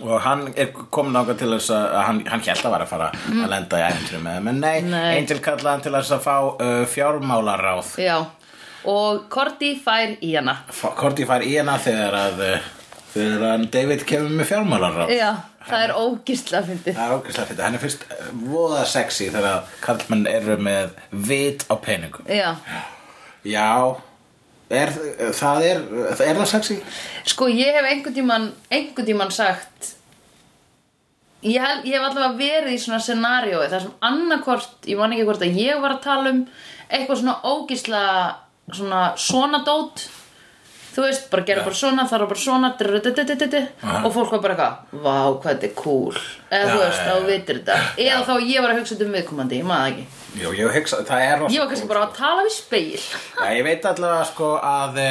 [SPEAKER 2] og hann er komin ákvæm til þess að að hann, hann held að var að fara að lenda í æfinturum með þeim, en nei,
[SPEAKER 1] Nei.
[SPEAKER 2] Angel kallaði hann til þess að fá uh, fjármálaráð
[SPEAKER 1] Já, og Korti fær í hana
[SPEAKER 2] F- Korti fær í hana þegar að uh, þegar að David kemur með fjármálaráð
[SPEAKER 1] Já, það er ógísla fyndið
[SPEAKER 2] það er ógæslega fyrir, hann er fyrst eh, voða sexy þegar að kallmenn eru með vit á peningum
[SPEAKER 1] Já,
[SPEAKER 2] já, er, það er, er það sexy?
[SPEAKER 1] sko ég hef einhvern tíman einhvern tíman sagt ég, hel, ég hef allavega verið í svona scenaríói þar sem annarkvort, ég man ekki hvort að ég var að tala um eitthvað svona ógísla svona svona dót þú veist, bara gera bara svona, þar var bara svona drr, drr, drr, drr, drr,
[SPEAKER 2] Aha.
[SPEAKER 1] og fólk var bara eitthvað vá, hvað þetta er cool eða
[SPEAKER 2] Já,
[SPEAKER 1] þú veist,
[SPEAKER 2] já, já.
[SPEAKER 1] þá vitir þetta eða þá ég var að hugsa þetta um viðkomandi, ég maður það ekki
[SPEAKER 2] Jú, ég hugsa, það er rosa
[SPEAKER 1] ég var kannski bara að tala við [laughs] speil
[SPEAKER 2] Já, ég veit allavega sko að e,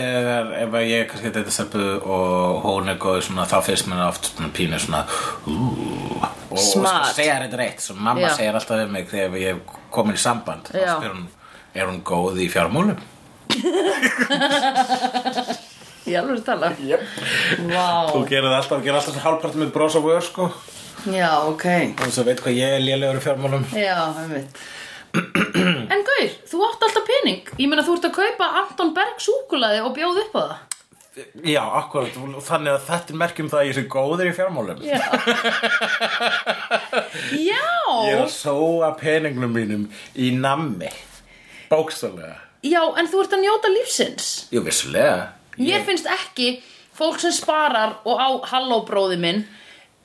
[SPEAKER 2] þegar ef að ég kannski þetta stelpu og hún er góð svona þá finnst mér oft svona pínu svona "Ú", og, og sko
[SPEAKER 1] Smart.
[SPEAKER 2] segja þetta reitt svo mamma
[SPEAKER 1] Já.
[SPEAKER 2] segir alltaf við mig þegar ég er komin í samband þá
[SPEAKER 1] Já.
[SPEAKER 2] spyr hún, er hún góð í fjármúlum?
[SPEAKER 1] ég alveg að tala yep. wow.
[SPEAKER 2] Þú gerir það alltaf, gerir alltaf hálfpartum með bros og vör sko og
[SPEAKER 1] já, ok
[SPEAKER 2] þess að veit hvað ég er lélegur í fjármúlum
[SPEAKER 1] Já, einmitt En Gaur, þú átt alltaf pening Ég meina þú ert að kaupa Anton Berg súkulaði og bjóð upp á það
[SPEAKER 2] Já, akkurat, þannig að þetta er merkjum það að ég sé góður í fjármúlum
[SPEAKER 1] Já
[SPEAKER 2] Ég er
[SPEAKER 1] Já
[SPEAKER 2] að sóa peningnum mínum í nammi Bóksalega
[SPEAKER 1] Já, en þú ert að njóta lífsins
[SPEAKER 2] Jú, vissulega
[SPEAKER 1] Mér finnst ekki fólk sem sparar og á Halló bróði minn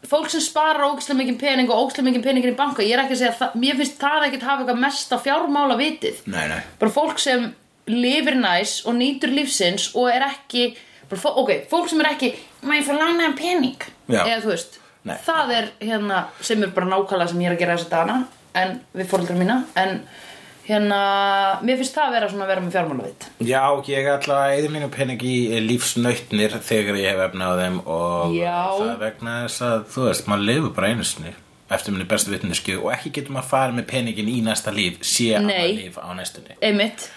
[SPEAKER 1] Fólk sem sparar ógislega mikið pening og ógislega mikið peningin í banka Ég er ekki að segja, það- mér finnst það ekkert hafa eitthvað mesta fjármála vitið
[SPEAKER 2] Nei, nei
[SPEAKER 1] bara fólk sem lifir næs og nýtur lífsins og er ekki bara, fó- ok, fólk sem er ekki maður fyrir lánaðan pening
[SPEAKER 2] Já.
[SPEAKER 1] eða þú veist,
[SPEAKER 2] Nei.
[SPEAKER 1] það er hérna sem er bara nákvæmlega sem ég er að gera þess að dana en við fóreldra mína en hérna, mér finnst það að vera svona að vera með fjármálavit
[SPEAKER 2] Já, ég ætla að eða mínu pening í eh, lífsnautnir þegar ég hef efna á þeim og
[SPEAKER 1] Já.
[SPEAKER 2] það er vegna þess að, þú veist, maður lifur bara einu sinni eftir minni bestu vitnisku og ekki getur maður að fara með peningin í næsta líf sé að
[SPEAKER 1] Nei.
[SPEAKER 2] maður líf á næstunni
[SPEAKER 1] einmitt,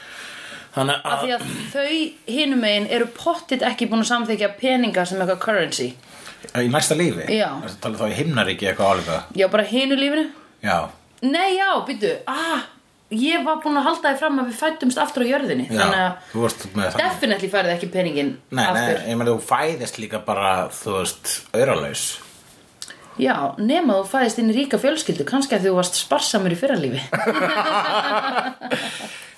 [SPEAKER 2] Þannig
[SPEAKER 1] af því
[SPEAKER 2] að,
[SPEAKER 1] að þau hinum megin eru pottit ekki búin að samþykja peninga sem eitthvað currency
[SPEAKER 2] í næsta lífi
[SPEAKER 1] Já.
[SPEAKER 2] Ertu að tala þá í himnaríki eitthvað álíka
[SPEAKER 1] já, bara hinu lífinu
[SPEAKER 2] Já,
[SPEAKER 1] nei, já, býtu, ah ég var búin að halda því fram að við fættumst aftur á jörðinni,
[SPEAKER 2] Já,
[SPEAKER 1] þannig að
[SPEAKER 2] þú vorst með það
[SPEAKER 1] definitely færði ekki peningin
[SPEAKER 2] Nei, nei,
[SPEAKER 1] aftur
[SPEAKER 2] ég meni þú fæðist líka bara, þú veist, auralaus
[SPEAKER 1] [laughs] já, nema þú fæðist inn í ríka fjölskyldu kannski að þú varst sparsamur í fyrralífi
[SPEAKER 2] [laughs]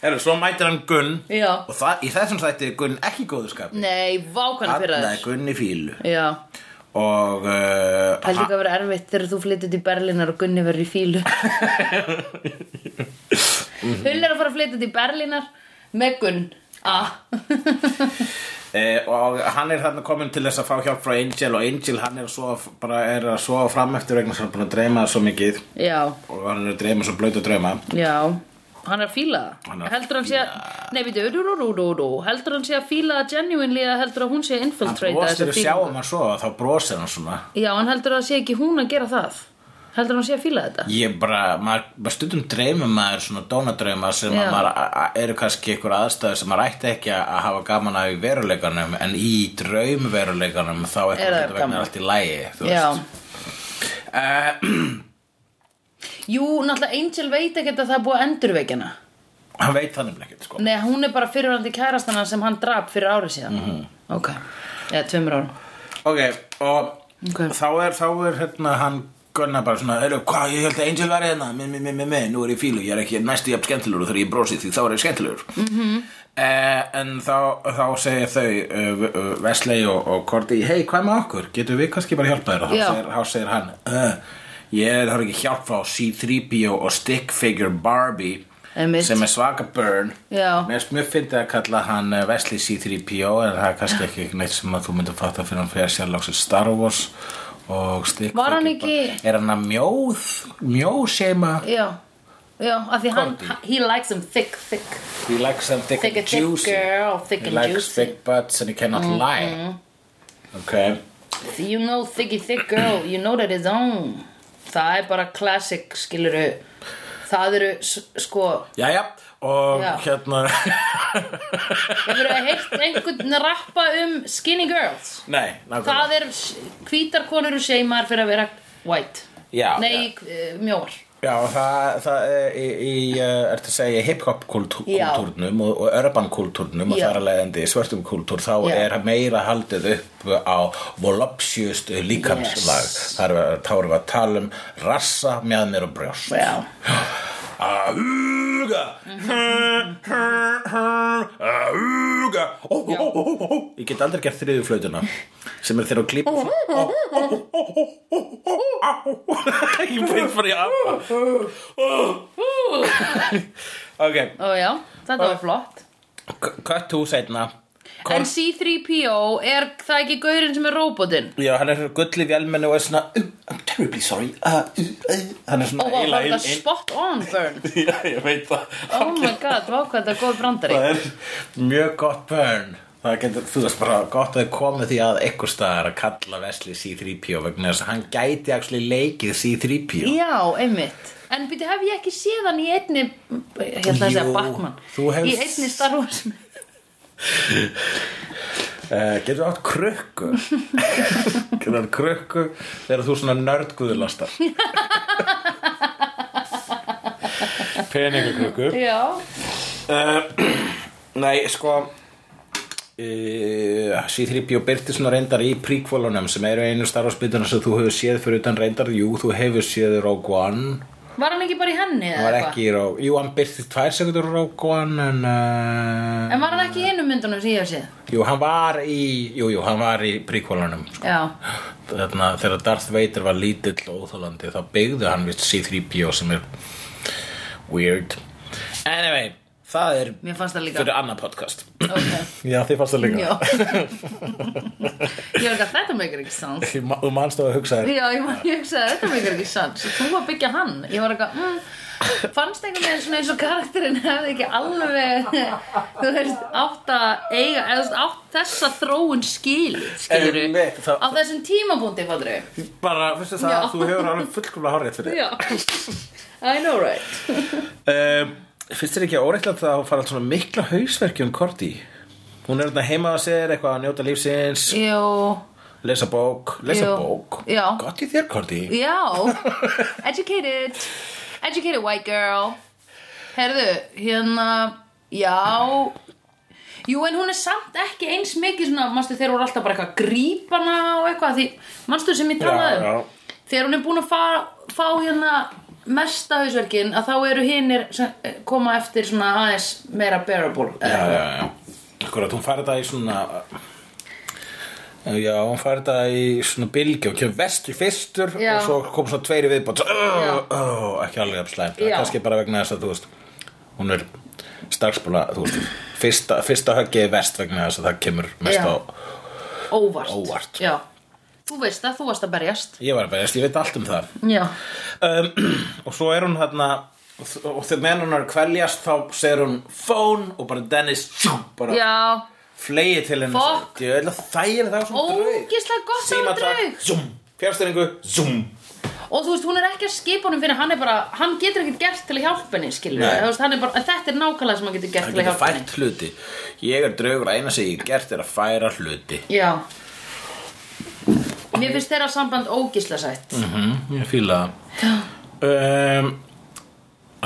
[SPEAKER 2] Erðu, svo mætir hann Gunn
[SPEAKER 1] Já.
[SPEAKER 2] Og það, í þessum þætti er Gunn ekki góðu skap
[SPEAKER 1] nei, vákvæna
[SPEAKER 2] Alla er
[SPEAKER 1] fyrralífi
[SPEAKER 2] Gunn í fílu
[SPEAKER 1] já,
[SPEAKER 2] Og uh,
[SPEAKER 1] pældi ekki að vera erfitt þegar þú flyttir til Berlínar og Gunni verður í
[SPEAKER 2] [laughs]
[SPEAKER 1] fílu [laughs] Hull er að fara að flytja til Berlínar með Gunn ah. [laughs]
[SPEAKER 2] Eh, og hann er þarna komin til þess að fá hjálp frá Angel og Angel hann er, svo, bara, er að svo fram eftir vegna sem hann er búin að dreyma svo mikið
[SPEAKER 1] já,
[SPEAKER 2] og hann er að dreyma svo blöyt að dreyma
[SPEAKER 1] Já, hann er að fíla
[SPEAKER 2] Hann
[SPEAKER 1] það
[SPEAKER 2] er að
[SPEAKER 1] Heldur hann sé að, nei býtu, rú, rú, rú, rú, rú. heldur hann sé að fíla það genuinely eða heldur að hún sé að
[SPEAKER 2] hann
[SPEAKER 1] infiltrata
[SPEAKER 2] brostir
[SPEAKER 1] þessa
[SPEAKER 2] að sjá
[SPEAKER 1] fílingu?
[SPEAKER 2] um hann svo og þá brosir hann svona
[SPEAKER 1] Já, hann heldur að sé ekki hún að gera það Heldur hann sé að fíla þetta
[SPEAKER 2] ég bara, maður, maður stundum dreymum maður svona dónadrauma sem
[SPEAKER 1] Já.
[SPEAKER 2] að maður a- a- eru kannski einhver aðstæður sem maður ætti ekki að að hafa gaman af í veruleikanum en í draumveruleikanum þá er
[SPEAKER 1] Er það
[SPEAKER 2] þetta
[SPEAKER 1] gaman?
[SPEAKER 2] vegna allt í lægi
[SPEAKER 1] Já,
[SPEAKER 2] [clears throat] uh,
[SPEAKER 1] jú, náttúrulega Angel veit ekkert að það er búið að endurveikja hana
[SPEAKER 2] hann veit þannig ekki sko.
[SPEAKER 1] Nei, hún er bara fyrirvændi kærastana sem hann drap fyrir árið síðan
[SPEAKER 2] Mhm.
[SPEAKER 1] Ok, eða tveimur árum
[SPEAKER 2] ok, og
[SPEAKER 1] Ok.
[SPEAKER 2] þá er, þá er hérna hann Gunnar bara svona, eru, hvað, ég held að Angel var hérna, minn, minn, minn, minn, minn, nú er ég í fílu, ég er ekki næstu jafn skemmtilegur og þegar ég brosi því þá er ég skemmtilegur. Mm
[SPEAKER 1] Mhm.
[SPEAKER 2] -hmm. en þá, þá segja þau, uh, uh, Vesley og, og Korti, hei, hvað með okkur, getum við kannski bara hjálpa þér? Og
[SPEAKER 1] Já.
[SPEAKER 2] þá segir, þá segir hann, uh, ég þarf ekki hjálp frá C-3PO og Stick Figure Barbie
[SPEAKER 1] Einmitt.
[SPEAKER 2] sem er svaka burn.
[SPEAKER 1] Já.
[SPEAKER 2] Mér finnst mjög fyndið að kalla hann eh, Wesley C-3PO en það er kannski ekki neitt sem að þú myndir fatta fyrir hann fyrir sérlóksir Star Wars og stikk
[SPEAKER 1] Var hann ekki-
[SPEAKER 2] Er hann að mjóð, mjóð seima
[SPEAKER 1] Já, já, af því hann,
[SPEAKER 2] Kondi.
[SPEAKER 1] he likes them thick, thick
[SPEAKER 2] He likes them thick
[SPEAKER 1] Thick
[SPEAKER 2] and
[SPEAKER 1] and thick
[SPEAKER 2] juicy
[SPEAKER 1] girl, thick
[SPEAKER 2] He
[SPEAKER 1] and
[SPEAKER 2] likes
[SPEAKER 1] juicy. Mm-hmm.
[SPEAKER 2] big butts and he cannot lie Ok
[SPEAKER 1] You know thicky thick girl, you know that it's on Það er bara classic, skiluru Það eru, s- sko
[SPEAKER 2] Jæja og
[SPEAKER 1] Já.
[SPEAKER 2] hérna [laughs]
[SPEAKER 1] Hefur það heilt einhvern rappa um skinny girls
[SPEAKER 2] Nei, nákvæmlega
[SPEAKER 1] Það er, s- hvítar konur og seimar fyrir að vera white
[SPEAKER 2] Já,
[SPEAKER 1] Nei, já. mjóar
[SPEAKER 2] Já, og það, það er í, í eh, ertu að segja, hip-hop
[SPEAKER 1] Já.
[SPEAKER 2] kultúrnum og, og urban kultúrnum og
[SPEAKER 1] Já.
[SPEAKER 2] þar að leiðandi svörtum kultúr, þá
[SPEAKER 1] Já.
[SPEAKER 2] er meira haldið upp á volupsjöst líkamslag.
[SPEAKER 1] Yes.
[SPEAKER 2] Þar er þá erum við að tala um rassa, mjadnir og brjóst. [gasps]
[SPEAKER 1] Já,
[SPEAKER 2] Auga Auga Ég get aldrei gert þriðu flautuna sem er þeirra að klípa [laughs] Ég finn bara í apa
[SPEAKER 1] [laughs]
[SPEAKER 2] Ok
[SPEAKER 1] og já, þetta var flott
[SPEAKER 2] Cut to seinna
[SPEAKER 1] En C-3PO, er það ekki gaurinn sem er róbotinn?
[SPEAKER 2] Já, hann er gulli vélmenni og er svona "Uh, I'm terribly sorry Uh, Hann er
[SPEAKER 1] Ó,
[SPEAKER 2] svona
[SPEAKER 1] vá, var þetta spot on
[SPEAKER 2] [laughs]
[SPEAKER 1] burn
[SPEAKER 2] Já, ég veit það
[SPEAKER 1] Oh my god, vá hvað þetta er góð brandari
[SPEAKER 2] það er mjög gott burn það getur, þú veist bara gott að þið komið því að einhver staðar að kalla Vesli C-3PO vegna þess að hann gæti actually leikið C-3PO
[SPEAKER 1] Já, einmitt En byrju, hef ég ekki séð hann í einni Hérna að segja
[SPEAKER 2] Jú,
[SPEAKER 1] Batman
[SPEAKER 2] þú hefur-
[SPEAKER 1] Í einni Star Wars [laughs]
[SPEAKER 2] uh, getur átt krukku getur átt krukku þegar þú svona nördguðulastar peningakrukku
[SPEAKER 1] Já
[SPEAKER 2] uh, nei, sko e, uh, C-3PO byrti svona reyndar í prequelunum sem eru einu starfarsbytuna sem þú hefur séð fyrir utan reyndar, jú, þú hefur séð Rogue One
[SPEAKER 1] Var hann ekki bara í henni
[SPEAKER 2] Hann var ekki í Rogue Jú, hann byrti tvær sekundur í Rogue One en, uh,
[SPEAKER 1] En var hann ekki í einu myndunum sem ég hef séð
[SPEAKER 2] Jú, hann var í Jú, jú, hann var í prequelunum sko.
[SPEAKER 1] Já,
[SPEAKER 2] Þarna, Þegar Darth Vader var lítill og óþólandi þá byggði hann vist C-3PO sem er weird Anyway það er
[SPEAKER 1] Mér fannst það líka
[SPEAKER 2] fyrir annað podcast
[SPEAKER 1] okay.
[SPEAKER 2] Já, þið fannst það líka
[SPEAKER 1] Já Ég var ekki að þetta meikir ekki sans
[SPEAKER 2] [laughs] Ég ma- Þú manst á að hugsa þér
[SPEAKER 1] Já, ég, man, ég hugsaði þetta meikir ekki sans Þú var að byggja hann Ég var eitthvað mm, Fannst einhvern veginn svona eins og karakterinn hefði ekki alveg Þú veist, átt að eiga eða þú veist, átt þessa þróun skil skilur
[SPEAKER 2] Einmitt, það-
[SPEAKER 1] á þessum tímabúndi, fattur
[SPEAKER 2] Bara, veistu það,
[SPEAKER 1] Já.
[SPEAKER 2] þú hefur alveg fullkomlega hárið fyrir
[SPEAKER 1] Já I know right
[SPEAKER 2] um, Finnst þér ekki óreiklegt að hún fara allt svona mikla hausverki um Korti? Hún er þarna heima að sér, eitthvað að njóta lífsins
[SPEAKER 1] Jó,
[SPEAKER 2] Lesa bók, lesa
[SPEAKER 1] Jú.
[SPEAKER 2] bók
[SPEAKER 1] Já.
[SPEAKER 2] Gott í þér, Korti
[SPEAKER 1] Já, educated Educated white girl Herðu, hérna Já Jú, en hún er samt ekki eins mikið svona, manstu þeir voru alltaf bara eitthvað að grípa hana og eitthvað, því manstu sem ég talaði
[SPEAKER 2] Já,
[SPEAKER 1] um þegar hún er búin að fá, fá hérna mesta hausverkin að þá eru hinnir koma eftir svona aðeins meira bearable eh,
[SPEAKER 2] já, já, já Akkurat, hún fær þetta í svona Já, hún fær þetta í svona bylgju Hún kemur vestur fyrstur
[SPEAKER 1] Já.
[SPEAKER 2] og svo kom svona tveiri viðbótt Svo,
[SPEAKER 1] Já.
[SPEAKER 2] oh, oh, Ekki alveg af slæmt Það
[SPEAKER 1] Já.
[SPEAKER 2] er kannski bara vegna þess að þú veist Hún er starfsbúla, þú veist Fyrsta, fyrsta höggið er vest vegna þess að það kemur mest
[SPEAKER 1] Já.
[SPEAKER 2] á
[SPEAKER 1] óvart.
[SPEAKER 2] Óvart.
[SPEAKER 1] Já, þú veist það, þú varst að berjast
[SPEAKER 2] Ég var að berjast, ég veit allt um það
[SPEAKER 1] Já,
[SPEAKER 2] um, [clears throat] Og svo er hún þarna Og þegar menn hún er að kveljast þá segir hún phone og bara Dennis tjú, bara
[SPEAKER 1] já,
[SPEAKER 2] flegið til henni
[SPEAKER 1] Fuck.
[SPEAKER 2] Ég ætla að þægir það svona
[SPEAKER 1] ógislega gott sem draug
[SPEAKER 2] zoom, fjárstæringu, zoom
[SPEAKER 1] og þú veist, hún er ekki að skipa honum fyrir hann er bara, hann getur ekkert gert til að hjálpa henni skilur
[SPEAKER 2] Nei.
[SPEAKER 1] við, þú veist, hann er bara, þetta er nákvæmlega sem hann getur gert
[SPEAKER 2] Það
[SPEAKER 1] til að
[SPEAKER 2] getur
[SPEAKER 1] hjálpa henni
[SPEAKER 2] fært hluti Ég er draugur að eina sem ég hef gert er að færa hluti
[SPEAKER 1] já mér finnst þeirra samband ógislega sætt
[SPEAKER 2] mm, Ég fíla það um,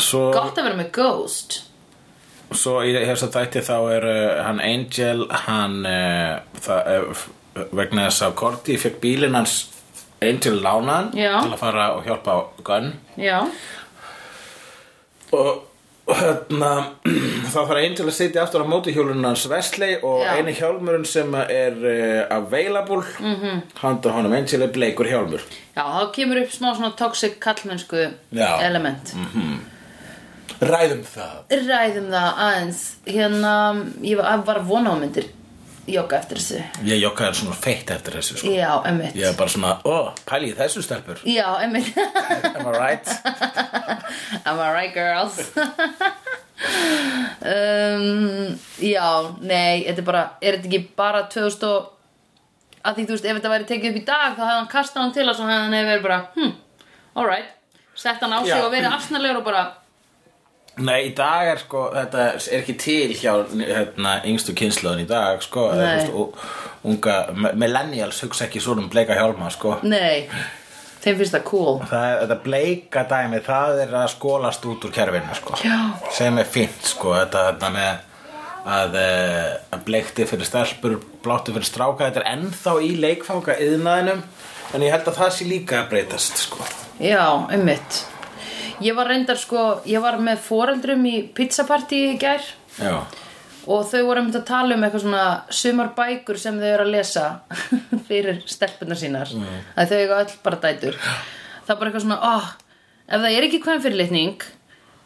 [SPEAKER 2] Svo,
[SPEAKER 1] gott að vera með ghost
[SPEAKER 2] svo í þess að þætti þá er uh, hann Angel hann uh, það, uh, vegna þess að Korti fekk bílinn hans Angel lánan
[SPEAKER 1] Já.
[SPEAKER 2] til að fara og hjálpa á Gunn
[SPEAKER 1] já,
[SPEAKER 2] og og hérna [clears throat] þá fara Angel að sitja aftur á móti hjólunum hans Wesley og
[SPEAKER 1] Já.
[SPEAKER 2] eini hjálmurinn sem er uh, available mm
[SPEAKER 1] Mhm.
[SPEAKER 2] -hmm. handa honum Angel er bleikur hjálmur
[SPEAKER 1] já, þá kemur upp smá svona toxic kallmennsku
[SPEAKER 2] Já. Mm.
[SPEAKER 1] element
[SPEAKER 2] ræðum það
[SPEAKER 1] ræðum það aðeins hérna, ég var, var að vona á myndir jogga eftir þessu
[SPEAKER 2] ég jokkaði svona feitt eftir þessu sko.
[SPEAKER 1] já, emmitt
[SPEAKER 2] ég er bara svona, ó, pæli í þessu stelpur
[SPEAKER 1] já, [laughs] emmitt
[SPEAKER 2] am I right?
[SPEAKER 1] [laughs] Am I right girls? [laughs] um, já, nei, þetta er bara, er þetta ekki bara 2000 og að því, þú veist, ef þetta væri tekið upp í dag þá hefði hann kastað hann til að svo hefði hann hefði verið bara hm, alright, sett hann á sig
[SPEAKER 2] Já.
[SPEAKER 1] og verið afsnarlegur og bara
[SPEAKER 2] nei, í dag er sko, þetta er ekki til hjá hérna, yngstu kynsluðin í dag sko, eða,
[SPEAKER 1] Nei.
[SPEAKER 2] þú veist, og, unga, me- millennials hugsa ekki svona um bleika hjálma sko.
[SPEAKER 1] nei, þeim finnst það cool
[SPEAKER 2] Það er, þetta bleika dæmi, það er að skólast út úr kerfinu, sko.
[SPEAKER 1] Já.
[SPEAKER 2] Sem er fínt, sko, þetta, þetta með að, eh, að bleikti fyrir stelpur, bláttu fyrir stráka, þetta er ennþá í leikfanga yðnaðinum, en ég held að það sé líka að breytast, sko.
[SPEAKER 1] Já, einmitt Ég var reyndar sko, ég var með foreldrum í pizzapartí í gær
[SPEAKER 2] Já.
[SPEAKER 1] og þau voru einmitt að tala um eitthvað svona sumar bækur sem þau eru að lesa [laughs] fyrir stelpunar sínar að þau eru öll bara dætur það er bara eitthvað svona, oh, ef það er ekki hvern fyrirlitning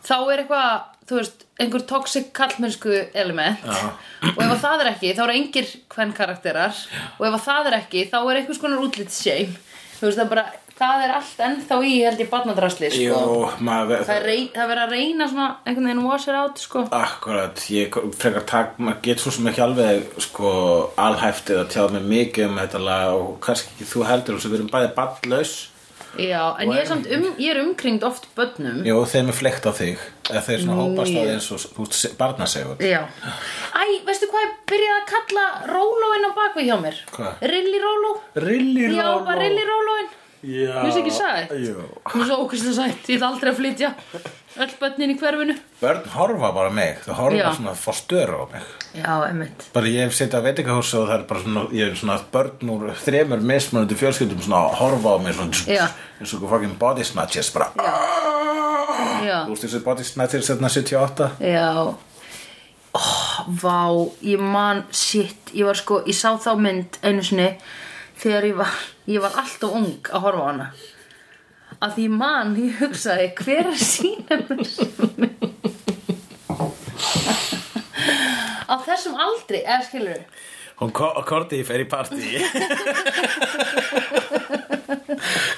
[SPEAKER 1] þá er eitthvað, þú veist, einhver toxic kallmennsku element
[SPEAKER 2] Já.
[SPEAKER 1] og ef að það er ekki, þá eru engir hvern karakterar og ef að það er ekki, þá er einhvers konar útlitsseim þú veist, það er bara, það er allt ennþá í held ég barnadrasli, sko
[SPEAKER 2] Jú, maður...
[SPEAKER 1] það er, rey, það er verið að reyna svona einhvern veginn wash it out, sko
[SPEAKER 2] Akkurat, ég frekar takk, maður getur svo sem ekki alveg sko alhæftið að tjáða mig mikið um þetta lag og kannski ekki þú heldur og svo við erum bæði ballaus
[SPEAKER 1] Já, en
[SPEAKER 2] Og
[SPEAKER 1] ég er,
[SPEAKER 2] er-
[SPEAKER 1] samt um, ég er umkringd oft börnum
[SPEAKER 2] Jó, þeim er flekt á þig eða þeir svona hópast á
[SPEAKER 1] Mjög.
[SPEAKER 2] þig eins og þú ert barnasegur
[SPEAKER 1] Já Æ, veistu hvað ég byrjaði að kalla rólóin á bakvið hjá mér?
[SPEAKER 2] Hvað?
[SPEAKER 1] Rilli róló
[SPEAKER 2] Rilli
[SPEAKER 1] Já, bara rilli rólóin
[SPEAKER 2] Já
[SPEAKER 1] Finnst ekki sætt?
[SPEAKER 2] Jú
[SPEAKER 1] Hún er svo ókvæslega sætt, ég ætla aldrei að flytja öll börnin í hverfinu
[SPEAKER 2] Börn horfa bara á mig, þau horfa
[SPEAKER 1] Já.
[SPEAKER 2] svona forstöru á mig
[SPEAKER 1] Já, emmitt
[SPEAKER 2] Bara ég hef setið á veitingahúsi og það er bara svona, ég er svona börn úr þremur mismunandi fjölskyldum svona að horfa á mig svona
[SPEAKER 1] Já.
[SPEAKER 2] eins og fucking body snatches bara
[SPEAKER 1] Já,
[SPEAKER 2] Þú veist þessu body snatches þarna 78
[SPEAKER 1] já Ó, vá, ég man, shit Ég var sko, ég sá þá mynd einu sinni Þegar ég var, ég var alltof ung að horfa á hana Að því man, ég hugsaði, hver er sína mér þessum aldri, eða skilur
[SPEAKER 2] Hún Ko- Korti fer í
[SPEAKER 1] [laughs]
[SPEAKER 2] partí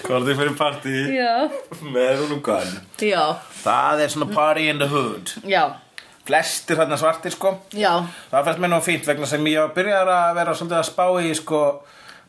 [SPEAKER 2] Korti fer í partí
[SPEAKER 1] Já
[SPEAKER 2] með hún og gunn
[SPEAKER 1] Já,
[SPEAKER 2] Það er svona party in the hood
[SPEAKER 1] já,
[SPEAKER 2] Flestir þarna svartir sko
[SPEAKER 1] já
[SPEAKER 2] Það fannst mér nú fínt vegna sem ég byrjar að vera svolítið að spá í sko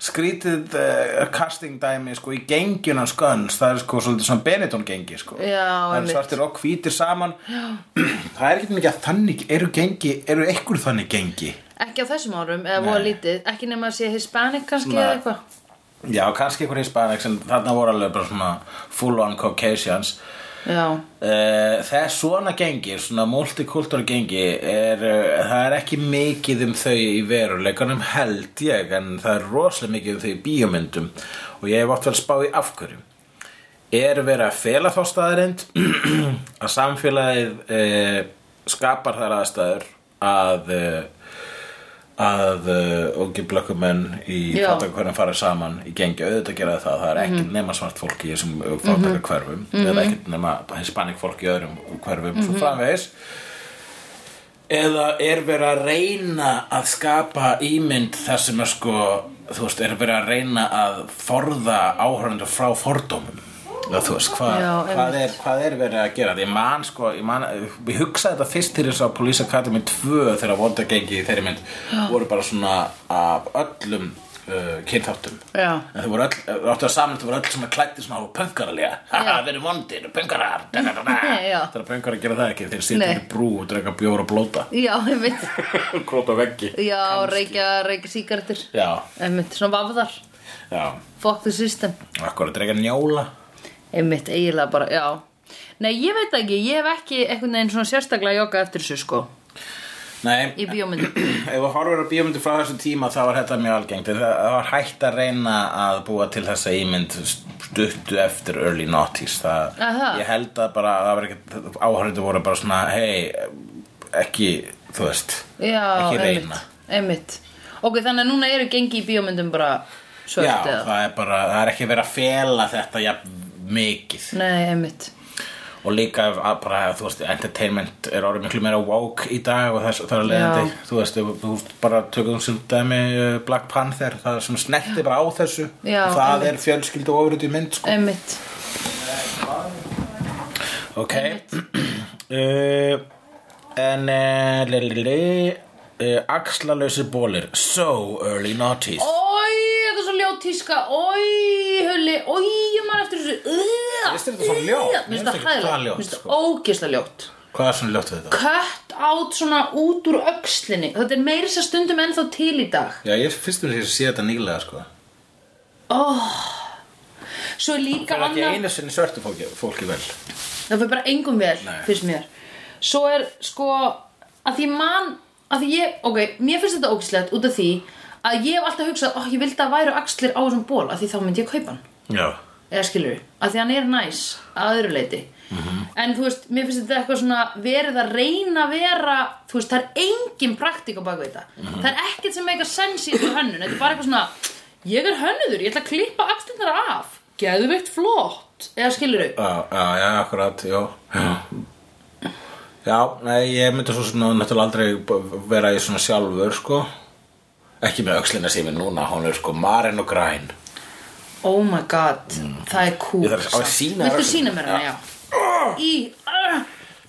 [SPEAKER 2] skrítið uh, casting dæmi sko í gengjuna sköns það er sko svolítið svona Benetton gengi sko
[SPEAKER 1] Já,
[SPEAKER 2] það er
[SPEAKER 1] einmitt.
[SPEAKER 2] svartir og hvítir saman Já. [clears throat] það er ekki mikið að þannig eru gengi, eru ekkur þannig gengi
[SPEAKER 1] Ekki á þessum árum, eða voða lítið Ekki nema að sé Hispanic kannski eða
[SPEAKER 2] Nei.
[SPEAKER 1] eitthvað
[SPEAKER 2] Já, kannski einhver hispanics en þarna voru alveg bara svona full on Caucasians
[SPEAKER 1] Já,
[SPEAKER 2] Eh, Þess svona gengir, svona multikultúra gengi er, eh, það er ekki mikið um þau í veruleikanum held ég en það er rosalega mikið um þau í bíómyndum og ég hef oft verið að spá í af hverju er verið að fela þá staðarind [clears throat] að samfélagið e, skapar þær aðstæður að e, að ungi blökkumenn í
[SPEAKER 1] Já.
[SPEAKER 2] fátakverðin fara saman í gengi auðvitað gera þau það, það er ekkert nema svart fólk í þessum fátakar hverfum eða ekkert nema hispanik fólk í öðrum hverfum svo framvegis eða er verið að reyna að skapa ímynd þar sem er sko þú veist, er verið að reyna að forða áhörundu frá fordómum eða þú veist, hvað,
[SPEAKER 1] Já,
[SPEAKER 2] hvað,
[SPEAKER 1] einmitt.
[SPEAKER 2] er, hvað er verið að gera ég man sko, ég man ég hugsaði þetta fyrst til þess að Police Academy 2 þegar vonda gengi í þeirri mynd voru bara svona af öllum uh, kynþáttum
[SPEAKER 1] Já.
[SPEAKER 2] en þau voru öll, þau áttu að saman þau voru öll sem að klætti svona á pöngaralega haha, við erum vondir, pöngarar da, da, da, da.
[SPEAKER 1] [laughs] Já.
[SPEAKER 2] þegar pöngarar gera það ekki, þeir sitja
[SPEAKER 1] Nei.
[SPEAKER 2] í brú og drega bjóra og blóta
[SPEAKER 1] já, einmitt
[SPEAKER 2] [laughs] Klóta veggi
[SPEAKER 1] Já, reykja, reykja sígarettur
[SPEAKER 2] Já,
[SPEAKER 1] Einmitt, svona vafðar
[SPEAKER 2] já
[SPEAKER 1] Fuck the system
[SPEAKER 2] Akkur að drega njóla
[SPEAKER 1] Einmitt, eiginlega bara, já Nei, ég veit ekki, ég hef ekki einhvern veginn svona sérstaklega jogga eftir þessu sko
[SPEAKER 2] Nei,
[SPEAKER 1] Í bíómyndum
[SPEAKER 2] [clears throat] ef við horfum á bíómyndu frá þessum tíma þá var þetta mjög algengt En Það það var hægt að reyna að búa til þessa ímynd stuttu eftir early noughties það,
[SPEAKER 1] Aha.
[SPEAKER 2] Ég held að bara það var ekkert áhörðu voru bara svona hei, ekki, þú veist
[SPEAKER 1] Já,
[SPEAKER 2] ekki
[SPEAKER 1] einmitt,
[SPEAKER 2] reyna
[SPEAKER 1] einmitt Ok, þannig að núna eru gengi í bíómyndum bara svört
[SPEAKER 2] Já,
[SPEAKER 1] eða
[SPEAKER 2] það er bara, það er ekki verið að fela þetta jafn mikið
[SPEAKER 1] Nei, einmitt
[SPEAKER 2] og líka ef- að bara, þú veist, entertainment er orðið miklu meira woke í dag og þess, það er leiðandi, þú veist, ef- þú veist bara tökum sem dæmi uh, Black Panther það sem snerti bara á þessu
[SPEAKER 1] Já,
[SPEAKER 2] og það
[SPEAKER 1] einmitt.
[SPEAKER 2] er fjölskyldu ofrið í mynd sko.
[SPEAKER 1] Einmitt,
[SPEAKER 2] ok [clears throat] uh, en uh, lili uh, axlalösi bólir so early noughties
[SPEAKER 1] Ói, þetta er svo ljótt tíska Ói, hulli, ói, ég man eftir þessu Mér
[SPEAKER 2] finnst þetta svo ljótt. Mér
[SPEAKER 1] Mér
[SPEAKER 2] finnst
[SPEAKER 1] finnst þetta
[SPEAKER 2] ekki það
[SPEAKER 1] hæðilegt,
[SPEAKER 2] ljótt,
[SPEAKER 1] mér finnst
[SPEAKER 2] sko.
[SPEAKER 1] þetta ógislega ljótt
[SPEAKER 2] hvað er svona ljótt við þetta?
[SPEAKER 1] Kött átt svona út úr öxlinni Þetta er meira sér stundum ennþá til í dag
[SPEAKER 2] Já, ég fyrst um því að sé þetta nýlega sko.
[SPEAKER 1] Oh. Svo er líka
[SPEAKER 2] það er ekki
[SPEAKER 1] annað
[SPEAKER 2] einu sinni svörtu fólki, fólki vel
[SPEAKER 1] það fyrir bara engum vel
[SPEAKER 2] Nei.
[SPEAKER 1] fyrst mér svo er sko að því man að því ég, ok, mér finnst þetta ógislegt út af því að ég hef alltaf hugsað, oh, ég vildi að væru axlir á þessum ból að því þá myndi ég kaupa hann
[SPEAKER 2] Já,
[SPEAKER 1] eða skilur að því hann er næs að öðru leiti
[SPEAKER 2] Mhm.
[SPEAKER 1] en þú veist, mér finnst þetta eitthvað svona verið að reyna að vera þú veist, það er engin praktík á baku þetta
[SPEAKER 2] Mhm.
[SPEAKER 1] það er ekkert sem meika sens í þessu hönnun þetta er bara eitthvað svona, ég er hönnuður ég ætla að klippa axlirnar af geðveikt flott, eða skilur
[SPEAKER 2] Já, já, já, akkurat, já Já, já nei, ég myndi svo svona náttúrulega aldrei b- vera í svona sjálfur, sko Ekki með öxlina sem ég er núna, hún er sko marin og græn
[SPEAKER 1] Oh my god, það er cool
[SPEAKER 2] Mhm. Ég þarf að- á að sýna Ah.
[SPEAKER 1] Viltu
[SPEAKER 2] þér-
[SPEAKER 1] sína mér hana, já Í, uh,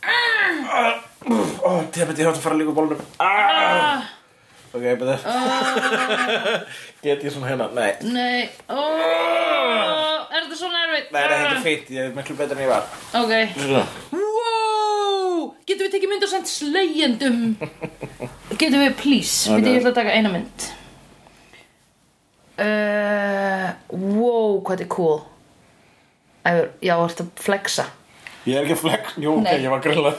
[SPEAKER 2] Ó, tefnir, ég þátt að fara líka bólnum ah! Ok, betur [laughs] Get ég svona hérna, nei
[SPEAKER 1] nei oh, Er þetta svona erfitt? Ah.
[SPEAKER 2] Ah. Nei, nei, þetta er fínt, ég er miklu betur en ég var
[SPEAKER 1] Ok
[SPEAKER 2] Svona.
[SPEAKER 1] Wow, getum við tekið mynd og sendt slegjendum Getum við, please
[SPEAKER 2] Ok.
[SPEAKER 1] okay. Við ég ætla að taka eina mynd uh, Wow, hvað þetta er cool Æfur, Já, ertu að flexa
[SPEAKER 2] Ég er ekki að flekk, jú, ok,
[SPEAKER 1] Nei.
[SPEAKER 2] ég var grillað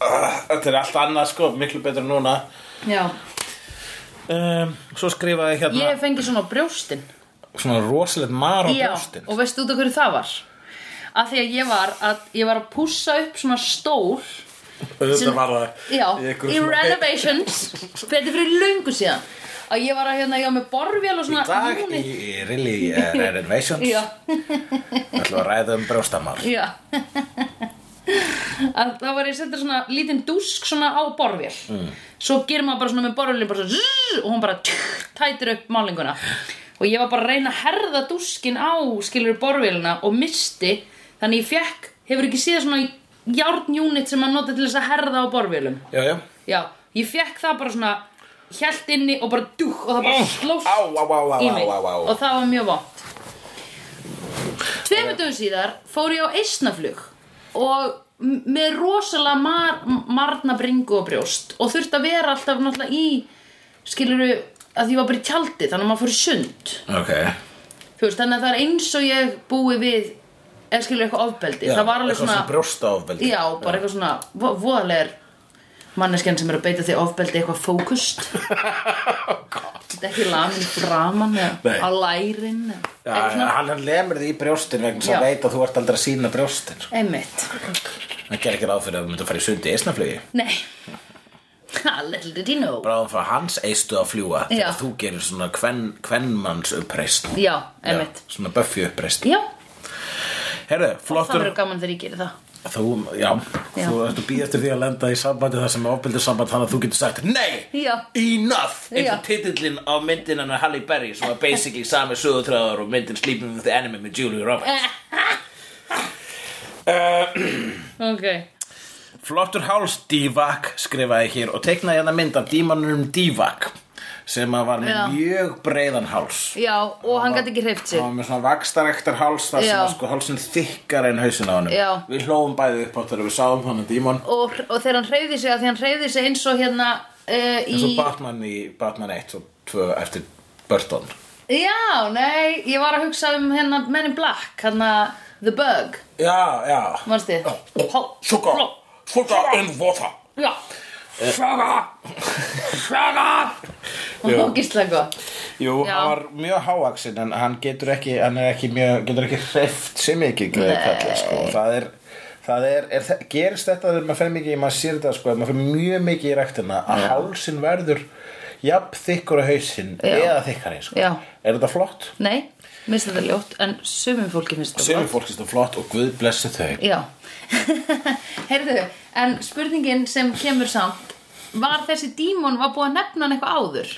[SPEAKER 2] Þetta er allt annað, sko, miklu betur en núna
[SPEAKER 1] Já,
[SPEAKER 2] um, Svo skrifaði ég hérna
[SPEAKER 1] ég hef fengið svona á brjóstin
[SPEAKER 2] svona rosalegt mar á
[SPEAKER 1] Já,
[SPEAKER 2] brjóstin
[SPEAKER 1] og veistu út af hverju það var? Að því að ég var að, ég var að pússa upp svona stól
[SPEAKER 2] auðvitað var það
[SPEAKER 1] Já,
[SPEAKER 2] í einhverju
[SPEAKER 1] í
[SPEAKER 2] svona-
[SPEAKER 1] renovations Betur fyrir löngu síðan Að ég var að hérna, ég var með borvél og svona
[SPEAKER 2] í dag í,
[SPEAKER 1] unit-
[SPEAKER 2] í Rilly eh, Renovations
[SPEAKER 1] Já,
[SPEAKER 2] ætlum við að ræða um brjóstamar
[SPEAKER 1] já [laughs] að þá var ég að setja svona lítinn dúsk svona á borvél svo gerir maður bara svona með borvélin bara svona zzz, og hún bara tjú, tætir upp málinguna og ég var bara að reyna að herða dúskin á skilur borvélina og misti þannig ég fekk, hefur ekki síða svona járnjúnit sem maður nota til þess að herða á borvélum
[SPEAKER 2] Já, já
[SPEAKER 1] já, ég fekk það bara svona hjælt inni og bara dúk og það bara
[SPEAKER 2] Mm.
[SPEAKER 1] slóst
[SPEAKER 2] Á, á, á, á,
[SPEAKER 1] í
[SPEAKER 2] á,
[SPEAKER 1] mig
[SPEAKER 2] á, á.
[SPEAKER 1] og það var mjög vond Tveimur dögum síðar fór ég á eisnaflug og m- með rosalega mar, marna bringu og brjóst og þurfti að vera alltaf náttúrulega í skiluru að ég var bara í tjaldi þannig að maður fór í sund
[SPEAKER 2] Ok
[SPEAKER 1] Þú veist, þannig að það er eins og ég búi við eða skilur eitthvað ofbeldi
[SPEAKER 2] Já,
[SPEAKER 1] það var alveg
[SPEAKER 2] eitthvað
[SPEAKER 1] svona,
[SPEAKER 2] svona brjóstaofbeldi.
[SPEAKER 1] já, bara eitthvað svona vo- voðalegur manneskjan sem er að beita því ofbeldi eitthvað
[SPEAKER 2] [laughs]
[SPEAKER 1] fókust þetta er ekki lamin framan
[SPEAKER 2] Oh, Nei.
[SPEAKER 1] eða á lærin eða
[SPEAKER 2] Já,
[SPEAKER 1] eitthvað svona,
[SPEAKER 2] hann, hann lemur því í brjóstin vegna þess
[SPEAKER 1] Já.
[SPEAKER 2] að veit að þú ert aldrei að sína brjóstin sko.
[SPEAKER 1] einmitt
[SPEAKER 2] Hann ger ekki ráð fyrir að þú myndir að fara í sundi í eisnaflugi
[SPEAKER 1] nei, Ha, little did you know
[SPEAKER 2] Bráðum frá hans eistu að fljúa
[SPEAKER 1] Já.
[SPEAKER 2] þegar þú gerir svona kven, kvenmanns uppreist
[SPEAKER 1] já, einmitt,
[SPEAKER 2] Svona buffi uppreist
[SPEAKER 1] já,
[SPEAKER 2] Herðu,
[SPEAKER 1] það
[SPEAKER 2] flottur
[SPEAKER 1] verður gaman þegar ég geri það
[SPEAKER 2] Þú, já,
[SPEAKER 1] Já.
[SPEAKER 2] þú ert að býja eftir því að lenda í sambandi þar sem er ofbeldur samband þannig að þú getur sagt Nei,
[SPEAKER 1] Já.
[SPEAKER 2] enough eins og
[SPEAKER 1] Já.
[SPEAKER 2] titillinn á myndin hennar Halle Berry sem var basically sami sögutræðar og myndin Sleeping with the Enemy með Julie Roberts [clears throat]
[SPEAKER 1] ok,
[SPEAKER 2] Flottur háls Divak skrifaði hér og teiknaði hérna mynd af dímanunum Divak sem að var með
[SPEAKER 1] Já.
[SPEAKER 2] mjög breiðan háls
[SPEAKER 1] já, og hann gæti ekki hreift sig
[SPEAKER 2] Það var með svona vakstarektar háls þar sem
[SPEAKER 1] Já.
[SPEAKER 2] að sko hálsinn þykkar en hausin á honum
[SPEAKER 1] Já.
[SPEAKER 2] Við hlófum bæði upp á þegar við sáum hann að dímon
[SPEAKER 1] og, og þegar hann hreyfði sig að því hann hreyfði sig eins og hérna uh,
[SPEAKER 2] eins
[SPEAKER 1] í,
[SPEAKER 2] og Batman í Batman 1 og 2 eftir Burton
[SPEAKER 1] já, nei ég var að hugsa um hérna Men in Black hérna The Bug,
[SPEAKER 2] Já, já Oh,
[SPEAKER 1] mannstu Hó,
[SPEAKER 2] Sugar,
[SPEAKER 1] fló,
[SPEAKER 2] sugar in water
[SPEAKER 1] já Eh.
[SPEAKER 2] Sugar, sugar
[SPEAKER 1] og ógislega gott
[SPEAKER 2] Jú,
[SPEAKER 1] Já.
[SPEAKER 2] hann var mjög hávaxinn en hann getur ekki, hann er ekki mjög, getur ekki hreift sem mikið greiði kalla sko. það er, það er, er það, gerist þetta þegar maður fer mikið, maður sér þetta sko, ef maður fer mjög mikið í ræktina að hálsinn verður jafn þykkur á hausinn
[SPEAKER 1] Já.
[SPEAKER 2] eða þykkari sko.
[SPEAKER 1] Já.
[SPEAKER 2] er þetta flott?
[SPEAKER 1] nei, minnst þetta ljótt en sumum fólki finnst þetta
[SPEAKER 2] Sjöfum fólk er þetta flott og guð blessi þau
[SPEAKER 1] já [laughs] heyrðu, en spurningin sem kemur samt var þessi dímon var búið að nefna hann eitthvað áður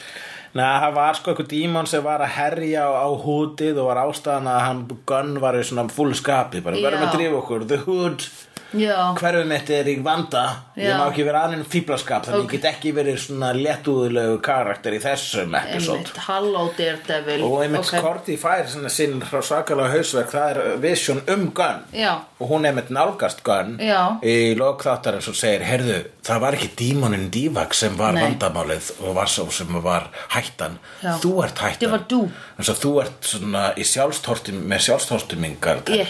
[SPEAKER 2] Nei, það var sko eitthvað dímon sem var að herja á, á hútið og var ástæðan að hann gunn var í svona full skapi bara,
[SPEAKER 1] Já.
[SPEAKER 2] verðum að drífa okkur, the hood
[SPEAKER 1] já,
[SPEAKER 2] hverfið mitt er í vanda ég
[SPEAKER 1] Já.
[SPEAKER 2] má ekki vera aðeins fíblaskap þannig
[SPEAKER 1] Ok.
[SPEAKER 2] ég get ekki verið svona léttúðulegu karakter í þessum episode
[SPEAKER 1] einmitt, hello Daredevil
[SPEAKER 2] og einmitt
[SPEAKER 1] Ok.
[SPEAKER 2] okay. Korti fær svona sinn svakalega hausverk það er vision um Gunn
[SPEAKER 1] Já.
[SPEAKER 2] og hún einmitt nálgast Gunn
[SPEAKER 1] Já.
[SPEAKER 2] í lokþáttar eins og segir heyrðu, það var ekki dímonin Divak sem var
[SPEAKER 1] Nei.
[SPEAKER 2] vandamálið og var svo sem var hættan
[SPEAKER 1] Já.
[SPEAKER 2] þú ert hættan
[SPEAKER 1] Þetta var þú.
[SPEAKER 2] eins og þú ert svona í sjálfstortum með sjálfstortumingar
[SPEAKER 1] Ég.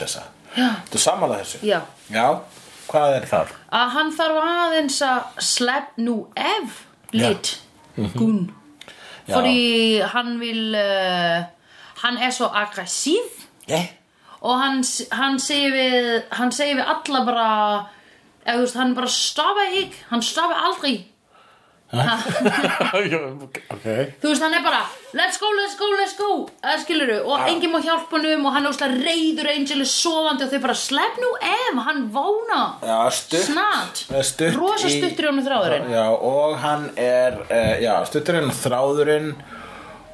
[SPEAKER 1] Já.
[SPEAKER 2] þú samanlega þessu
[SPEAKER 1] Já.
[SPEAKER 2] Já, hvað er það?
[SPEAKER 1] að hann þarf aðeins að slepp nú ef lit gunn
[SPEAKER 2] Mhm. Já.
[SPEAKER 1] fordi hann vil uh, hann er svo aggressív
[SPEAKER 2] Yeah.
[SPEAKER 1] og hann, hann segir við hann segir við alla bara eða þú veist, hann bara stoppa ekki hann stoppa aldrei
[SPEAKER 2] [laughs] ok
[SPEAKER 1] þú veist, hann er bara let's go, let's go, let's go eða skilur og enginn má hjálpa hann um og hann er óslega reyður Angel er sofandi og þau bara slepp nú ef hann vóna
[SPEAKER 2] Já, stutt
[SPEAKER 1] snart
[SPEAKER 2] Eh, stutt
[SPEAKER 1] rosa
[SPEAKER 2] í-
[SPEAKER 1] stuttur í honum þráðurinn
[SPEAKER 2] Já, og hann er uh, já, stutturinn og þráðurinn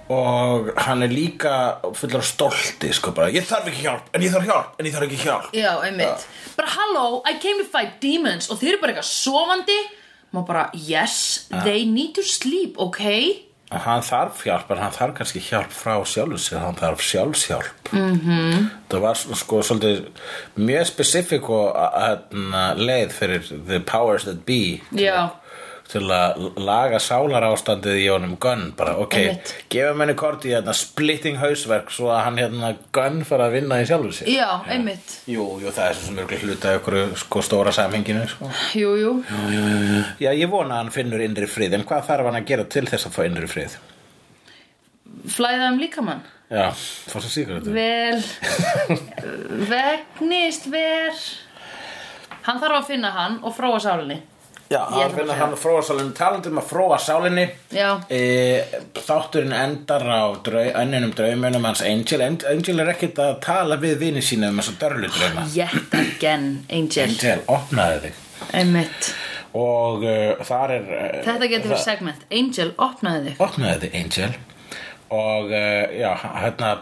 [SPEAKER 2] og hann er líka fullur af stolti sko bara ég þarf ekki hjálp, en ég þarf hjálp, en ég þarf ekki hjálp
[SPEAKER 1] Já, einmitt Bara halló, I came to fight demons Og þeir eru bara eitthvað sofandi Má bara, yes, they need to sleep, ok?
[SPEAKER 2] En hann þarf hjálp, en hann þarf kannski hjálp frá sjálfum sér, hann þarf sjálfshjálp mm
[SPEAKER 1] Mhm.
[SPEAKER 2] -hmm. Það var svona, sko svolítið mjög spesifik og hérna, leið fyrir the powers that be
[SPEAKER 1] Já,
[SPEAKER 2] til að laga sálar ástandið í honum Gunn bara, ok,
[SPEAKER 1] Einmitt.
[SPEAKER 2] gefum henni korti hérna splitting hausverk svo að hann hérna Gunn fara að vinna í sjálfu sér
[SPEAKER 1] já, einmitt
[SPEAKER 2] Jú, jú, það er svo sem mjög hluta ykkur sko stóra samhenginu sko.
[SPEAKER 1] Jú, jú
[SPEAKER 2] Já, ég vona að hann finnur innri frið en hvað þarf hann að gera til þess að fá innri frið?
[SPEAKER 1] Flæða um líkamann
[SPEAKER 2] Já, fórst að síkur
[SPEAKER 1] [laughs]
[SPEAKER 2] þetta
[SPEAKER 1] Vel Vegnist ver Hann þarf að finna hann og fróa sálinni
[SPEAKER 2] Já,
[SPEAKER 1] Ég
[SPEAKER 2] hann
[SPEAKER 1] ætla bara
[SPEAKER 2] finnur
[SPEAKER 1] að
[SPEAKER 2] hann að fróa sálinni talandi um að fróa sálinni
[SPEAKER 1] Já.
[SPEAKER 2] e, Þátturinn endar á drau, önninum draumunum hans Angel Ang- Angel er ekkert að tala við vini sína um þess að dörlu drauma
[SPEAKER 1] Yet again, Angel
[SPEAKER 2] Angel, opnaði þig
[SPEAKER 1] Einmitt.
[SPEAKER 2] og uh, þar er uh,
[SPEAKER 1] Þetta getur verið segment. Angel, opnaði þig.
[SPEAKER 2] opnaði þið Angel og uh, já, hérna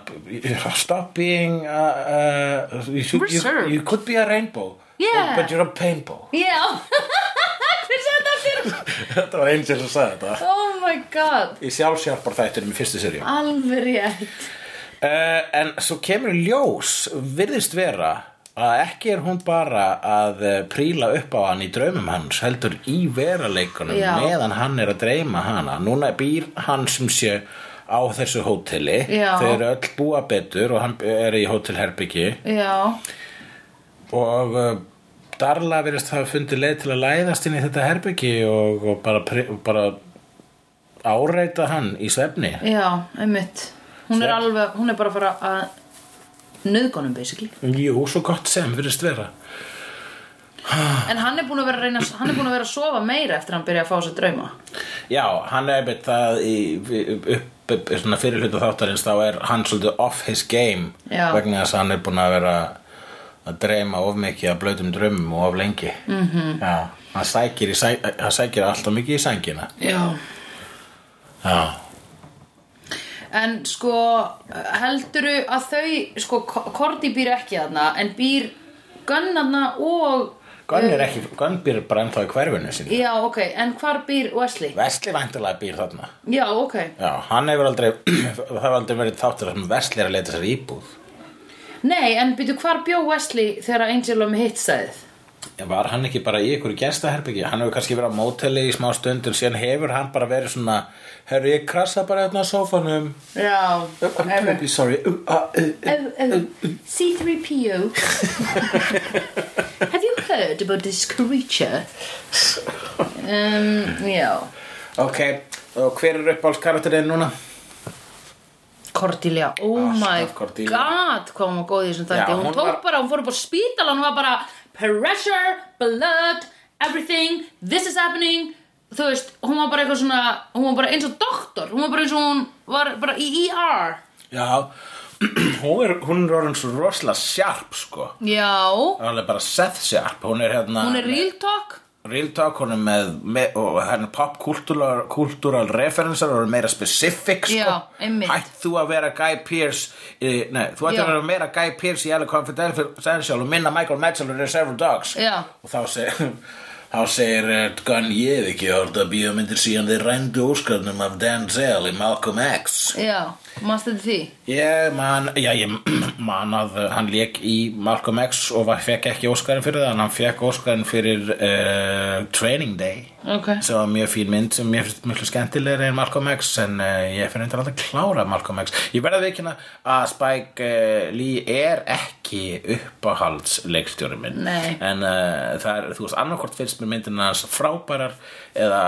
[SPEAKER 2] stop being uh, uh, you, should, you,
[SPEAKER 1] Reserved.
[SPEAKER 2] you could be a rainbow
[SPEAKER 1] Yeah.
[SPEAKER 2] but you're a painbow
[SPEAKER 1] Já. [laughs] Hver sagði þetta fyrir?
[SPEAKER 2] [laughs] þetta var Angel sem sagði þetta
[SPEAKER 1] Oh my god.
[SPEAKER 2] í sjálfsjálfbar þættunum í fyrstu serju uh,
[SPEAKER 1] Alveg rétt.
[SPEAKER 2] Eh, en svo kemur í ljós virðist vera að ekki er hún bara að eh, príla upp á hann í draumum hans heldur í veruleikunum
[SPEAKER 1] Já.
[SPEAKER 2] meðan hann er að dreyma hana núna býr hann sem sé á þessu hóteli
[SPEAKER 1] Já.
[SPEAKER 2] þau eru öll búa betur og hann er í hótelherbyggi
[SPEAKER 1] Já.
[SPEAKER 2] og uh, Darla verðist hafa fundið leið til að læðast inn í þetta herbyggi og, og bara, pri- og bara áreita hann í svefni
[SPEAKER 1] Já, einmitt Hún er
[SPEAKER 2] Svefn.
[SPEAKER 1] alveg, hún er bara að fara að nöðgónum basically
[SPEAKER 2] Jú, svo gott sem verðist vera
[SPEAKER 1] En hann er búin að vera að reyna hann er búin að vera að sofa meira eftir að hann byrja að fá sér drauma
[SPEAKER 2] Já, hann er einmitt það í, upp, upp, upp svona fyrir hluta þáttarins þá er hann svolítið off his game
[SPEAKER 1] Já.
[SPEAKER 2] vegna þess að hann er búin að vera að dreyma of mikið að blautum draumum og of lengi mm -hmm. Já, hann sækir, í sæ, hann sækir alltaf mikið í sængina
[SPEAKER 1] Já
[SPEAKER 2] Já,
[SPEAKER 1] En sko, heldurðu að þau sko, Korti býr ekki þarna en býr gönnarna og
[SPEAKER 2] Gunn er ekki, Gunn býr bara ennþá í hverfinu sinni
[SPEAKER 1] Já, ok, en hvar býr Wesley?
[SPEAKER 2] Vesli væntalega býr þarna
[SPEAKER 1] Já, ok
[SPEAKER 2] Já, hann hefur aldrei [clears throat] það hefur aldrei verið þáttur þar sem Vesli er að leita sér íbúð
[SPEAKER 1] Nei, en býtu hvar bjó Wesley þegar Angel og með hitt stæðið?
[SPEAKER 2] En Var hann ekki bara í ykkur gestaherbyggi? Hann hefur kannski verið á móteli í smá stund en síðan hefur hann bara verið svona Herru, ég krassa bara hérna á sófanum
[SPEAKER 1] Já,
[SPEAKER 2] I'm
[SPEAKER 1] einmitt.
[SPEAKER 2] terribly sorry um, uh, uh,
[SPEAKER 1] Oh, oh,
[SPEAKER 2] [laughs]
[SPEAKER 1] C3PO. Have you heard about this creature? Um, já.
[SPEAKER 2] uh. Ok, og hver er uppáhaldskarakterinn núna?
[SPEAKER 1] Cordelia, oh
[SPEAKER 2] Alltaf
[SPEAKER 1] my
[SPEAKER 2] Cordelia.
[SPEAKER 1] god, hvað hún var góð í þessum
[SPEAKER 2] Já,
[SPEAKER 1] þætti. Hún,
[SPEAKER 2] hún
[SPEAKER 1] tók
[SPEAKER 2] var-
[SPEAKER 1] bara, hún fór upp á spítal, hún var bara pressure, blood, everything, this is happening. Þú veist, hún var bara eitthvað svona, hún var bara eins og doktor, hún var bara eins og hún var bara í E ER.
[SPEAKER 2] Já, [clears throat] hún er, hún er orðin svo rosalega sjarp sko
[SPEAKER 1] Já,
[SPEAKER 2] Alveg bara Seth sjarp Hún er hérna
[SPEAKER 1] hún er real talk.
[SPEAKER 2] Real Talk, hún er með, með og hann er pop-kultúral referensar og er meira specific sko.
[SPEAKER 1] Já, einmitt.
[SPEAKER 2] hætt þú að vera Guy Pearce e, nei, þú ætti
[SPEAKER 1] Já.
[SPEAKER 2] að vera meira Guy Pearce í Alec Confidential og minna Michael Madsen og Reservoir Dogs
[SPEAKER 1] Já.
[SPEAKER 2] og þá segir [laughs] þá segir eh, Gunn ég hef ekki orða bíómyndir síðan þeir rændu úrskarnum af Denzel í Malcolm X
[SPEAKER 1] Já, mannst þetta því?
[SPEAKER 2] ég man, já, ég [clears throat] man að eh, hann lék í Malcolm X og var, fekk ekki óskarinn fyrir það en hann fekk óskarinn fyrir uh, Training Day
[SPEAKER 1] Ok.
[SPEAKER 2] sem var mjög fín mynd sem mér finnst miklu skemmtilegri en Malcolm X en uh, ég finn eitthvað að klára Malcolm X ég verða að veikina að Spike uh, Lee er ekki uppáhalds leikstjóri minn
[SPEAKER 1] Nei.
[SPEAKER 2] en uh, það er, þú veist, annarkvort finnst mér myndin hans frábærar eða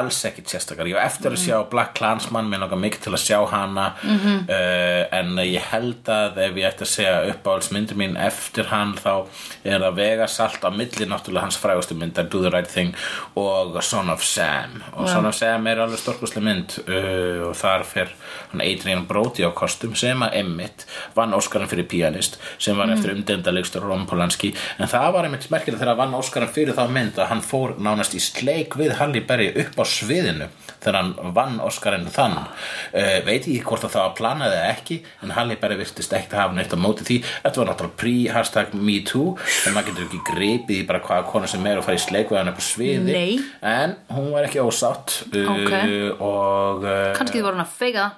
[SPEAKER 2] alls ekkit sérstakar ég á eftir að sjá Black Klansmann mér langar mikið til að sjá hana -hmm. uh, en ég held að ef ég ætti að segja uppáhaldsmyndin mín eftir hann þá er það vega salt á milli náttúrulega hans frægustu myndar Do the Right Thing og Son of Sam og Son of Sam er alveg storkuslega mynd uh, og þar fer hann Adrian Brody á kostum sem að Emmitt vann Óskarinn fyrir pianist sem
[SPEAKER 1] Mm.
[SPEAKER 2] var eftir umdenda leikstur Ron Polanski en það var einmitt merkilega þegar hann vann Óskarinn fyrir þá mynd að hann fór nánast í sleik við Halli Berry upp á sviðinu þegar hann vann Óskarinn þann uh, veit ekki hvort að það var planað eða ekki en Halli Berry virtist ekkert hafa neitt á móti því þetta var náttúrulega pre-hashtag MeToo en maður getur ekki gripið í bara hvaða konu sem er og fara í sleik við hann upp á sviði
[SPEAKER 1] Nei.
[SPEAKER 2] en hún var ekki ósátt uh,
[SPEAKER 1] Ok.
[SPEAKER 2] og uh,
[SPEAKER 1] Kannski þið voru hann að feika það.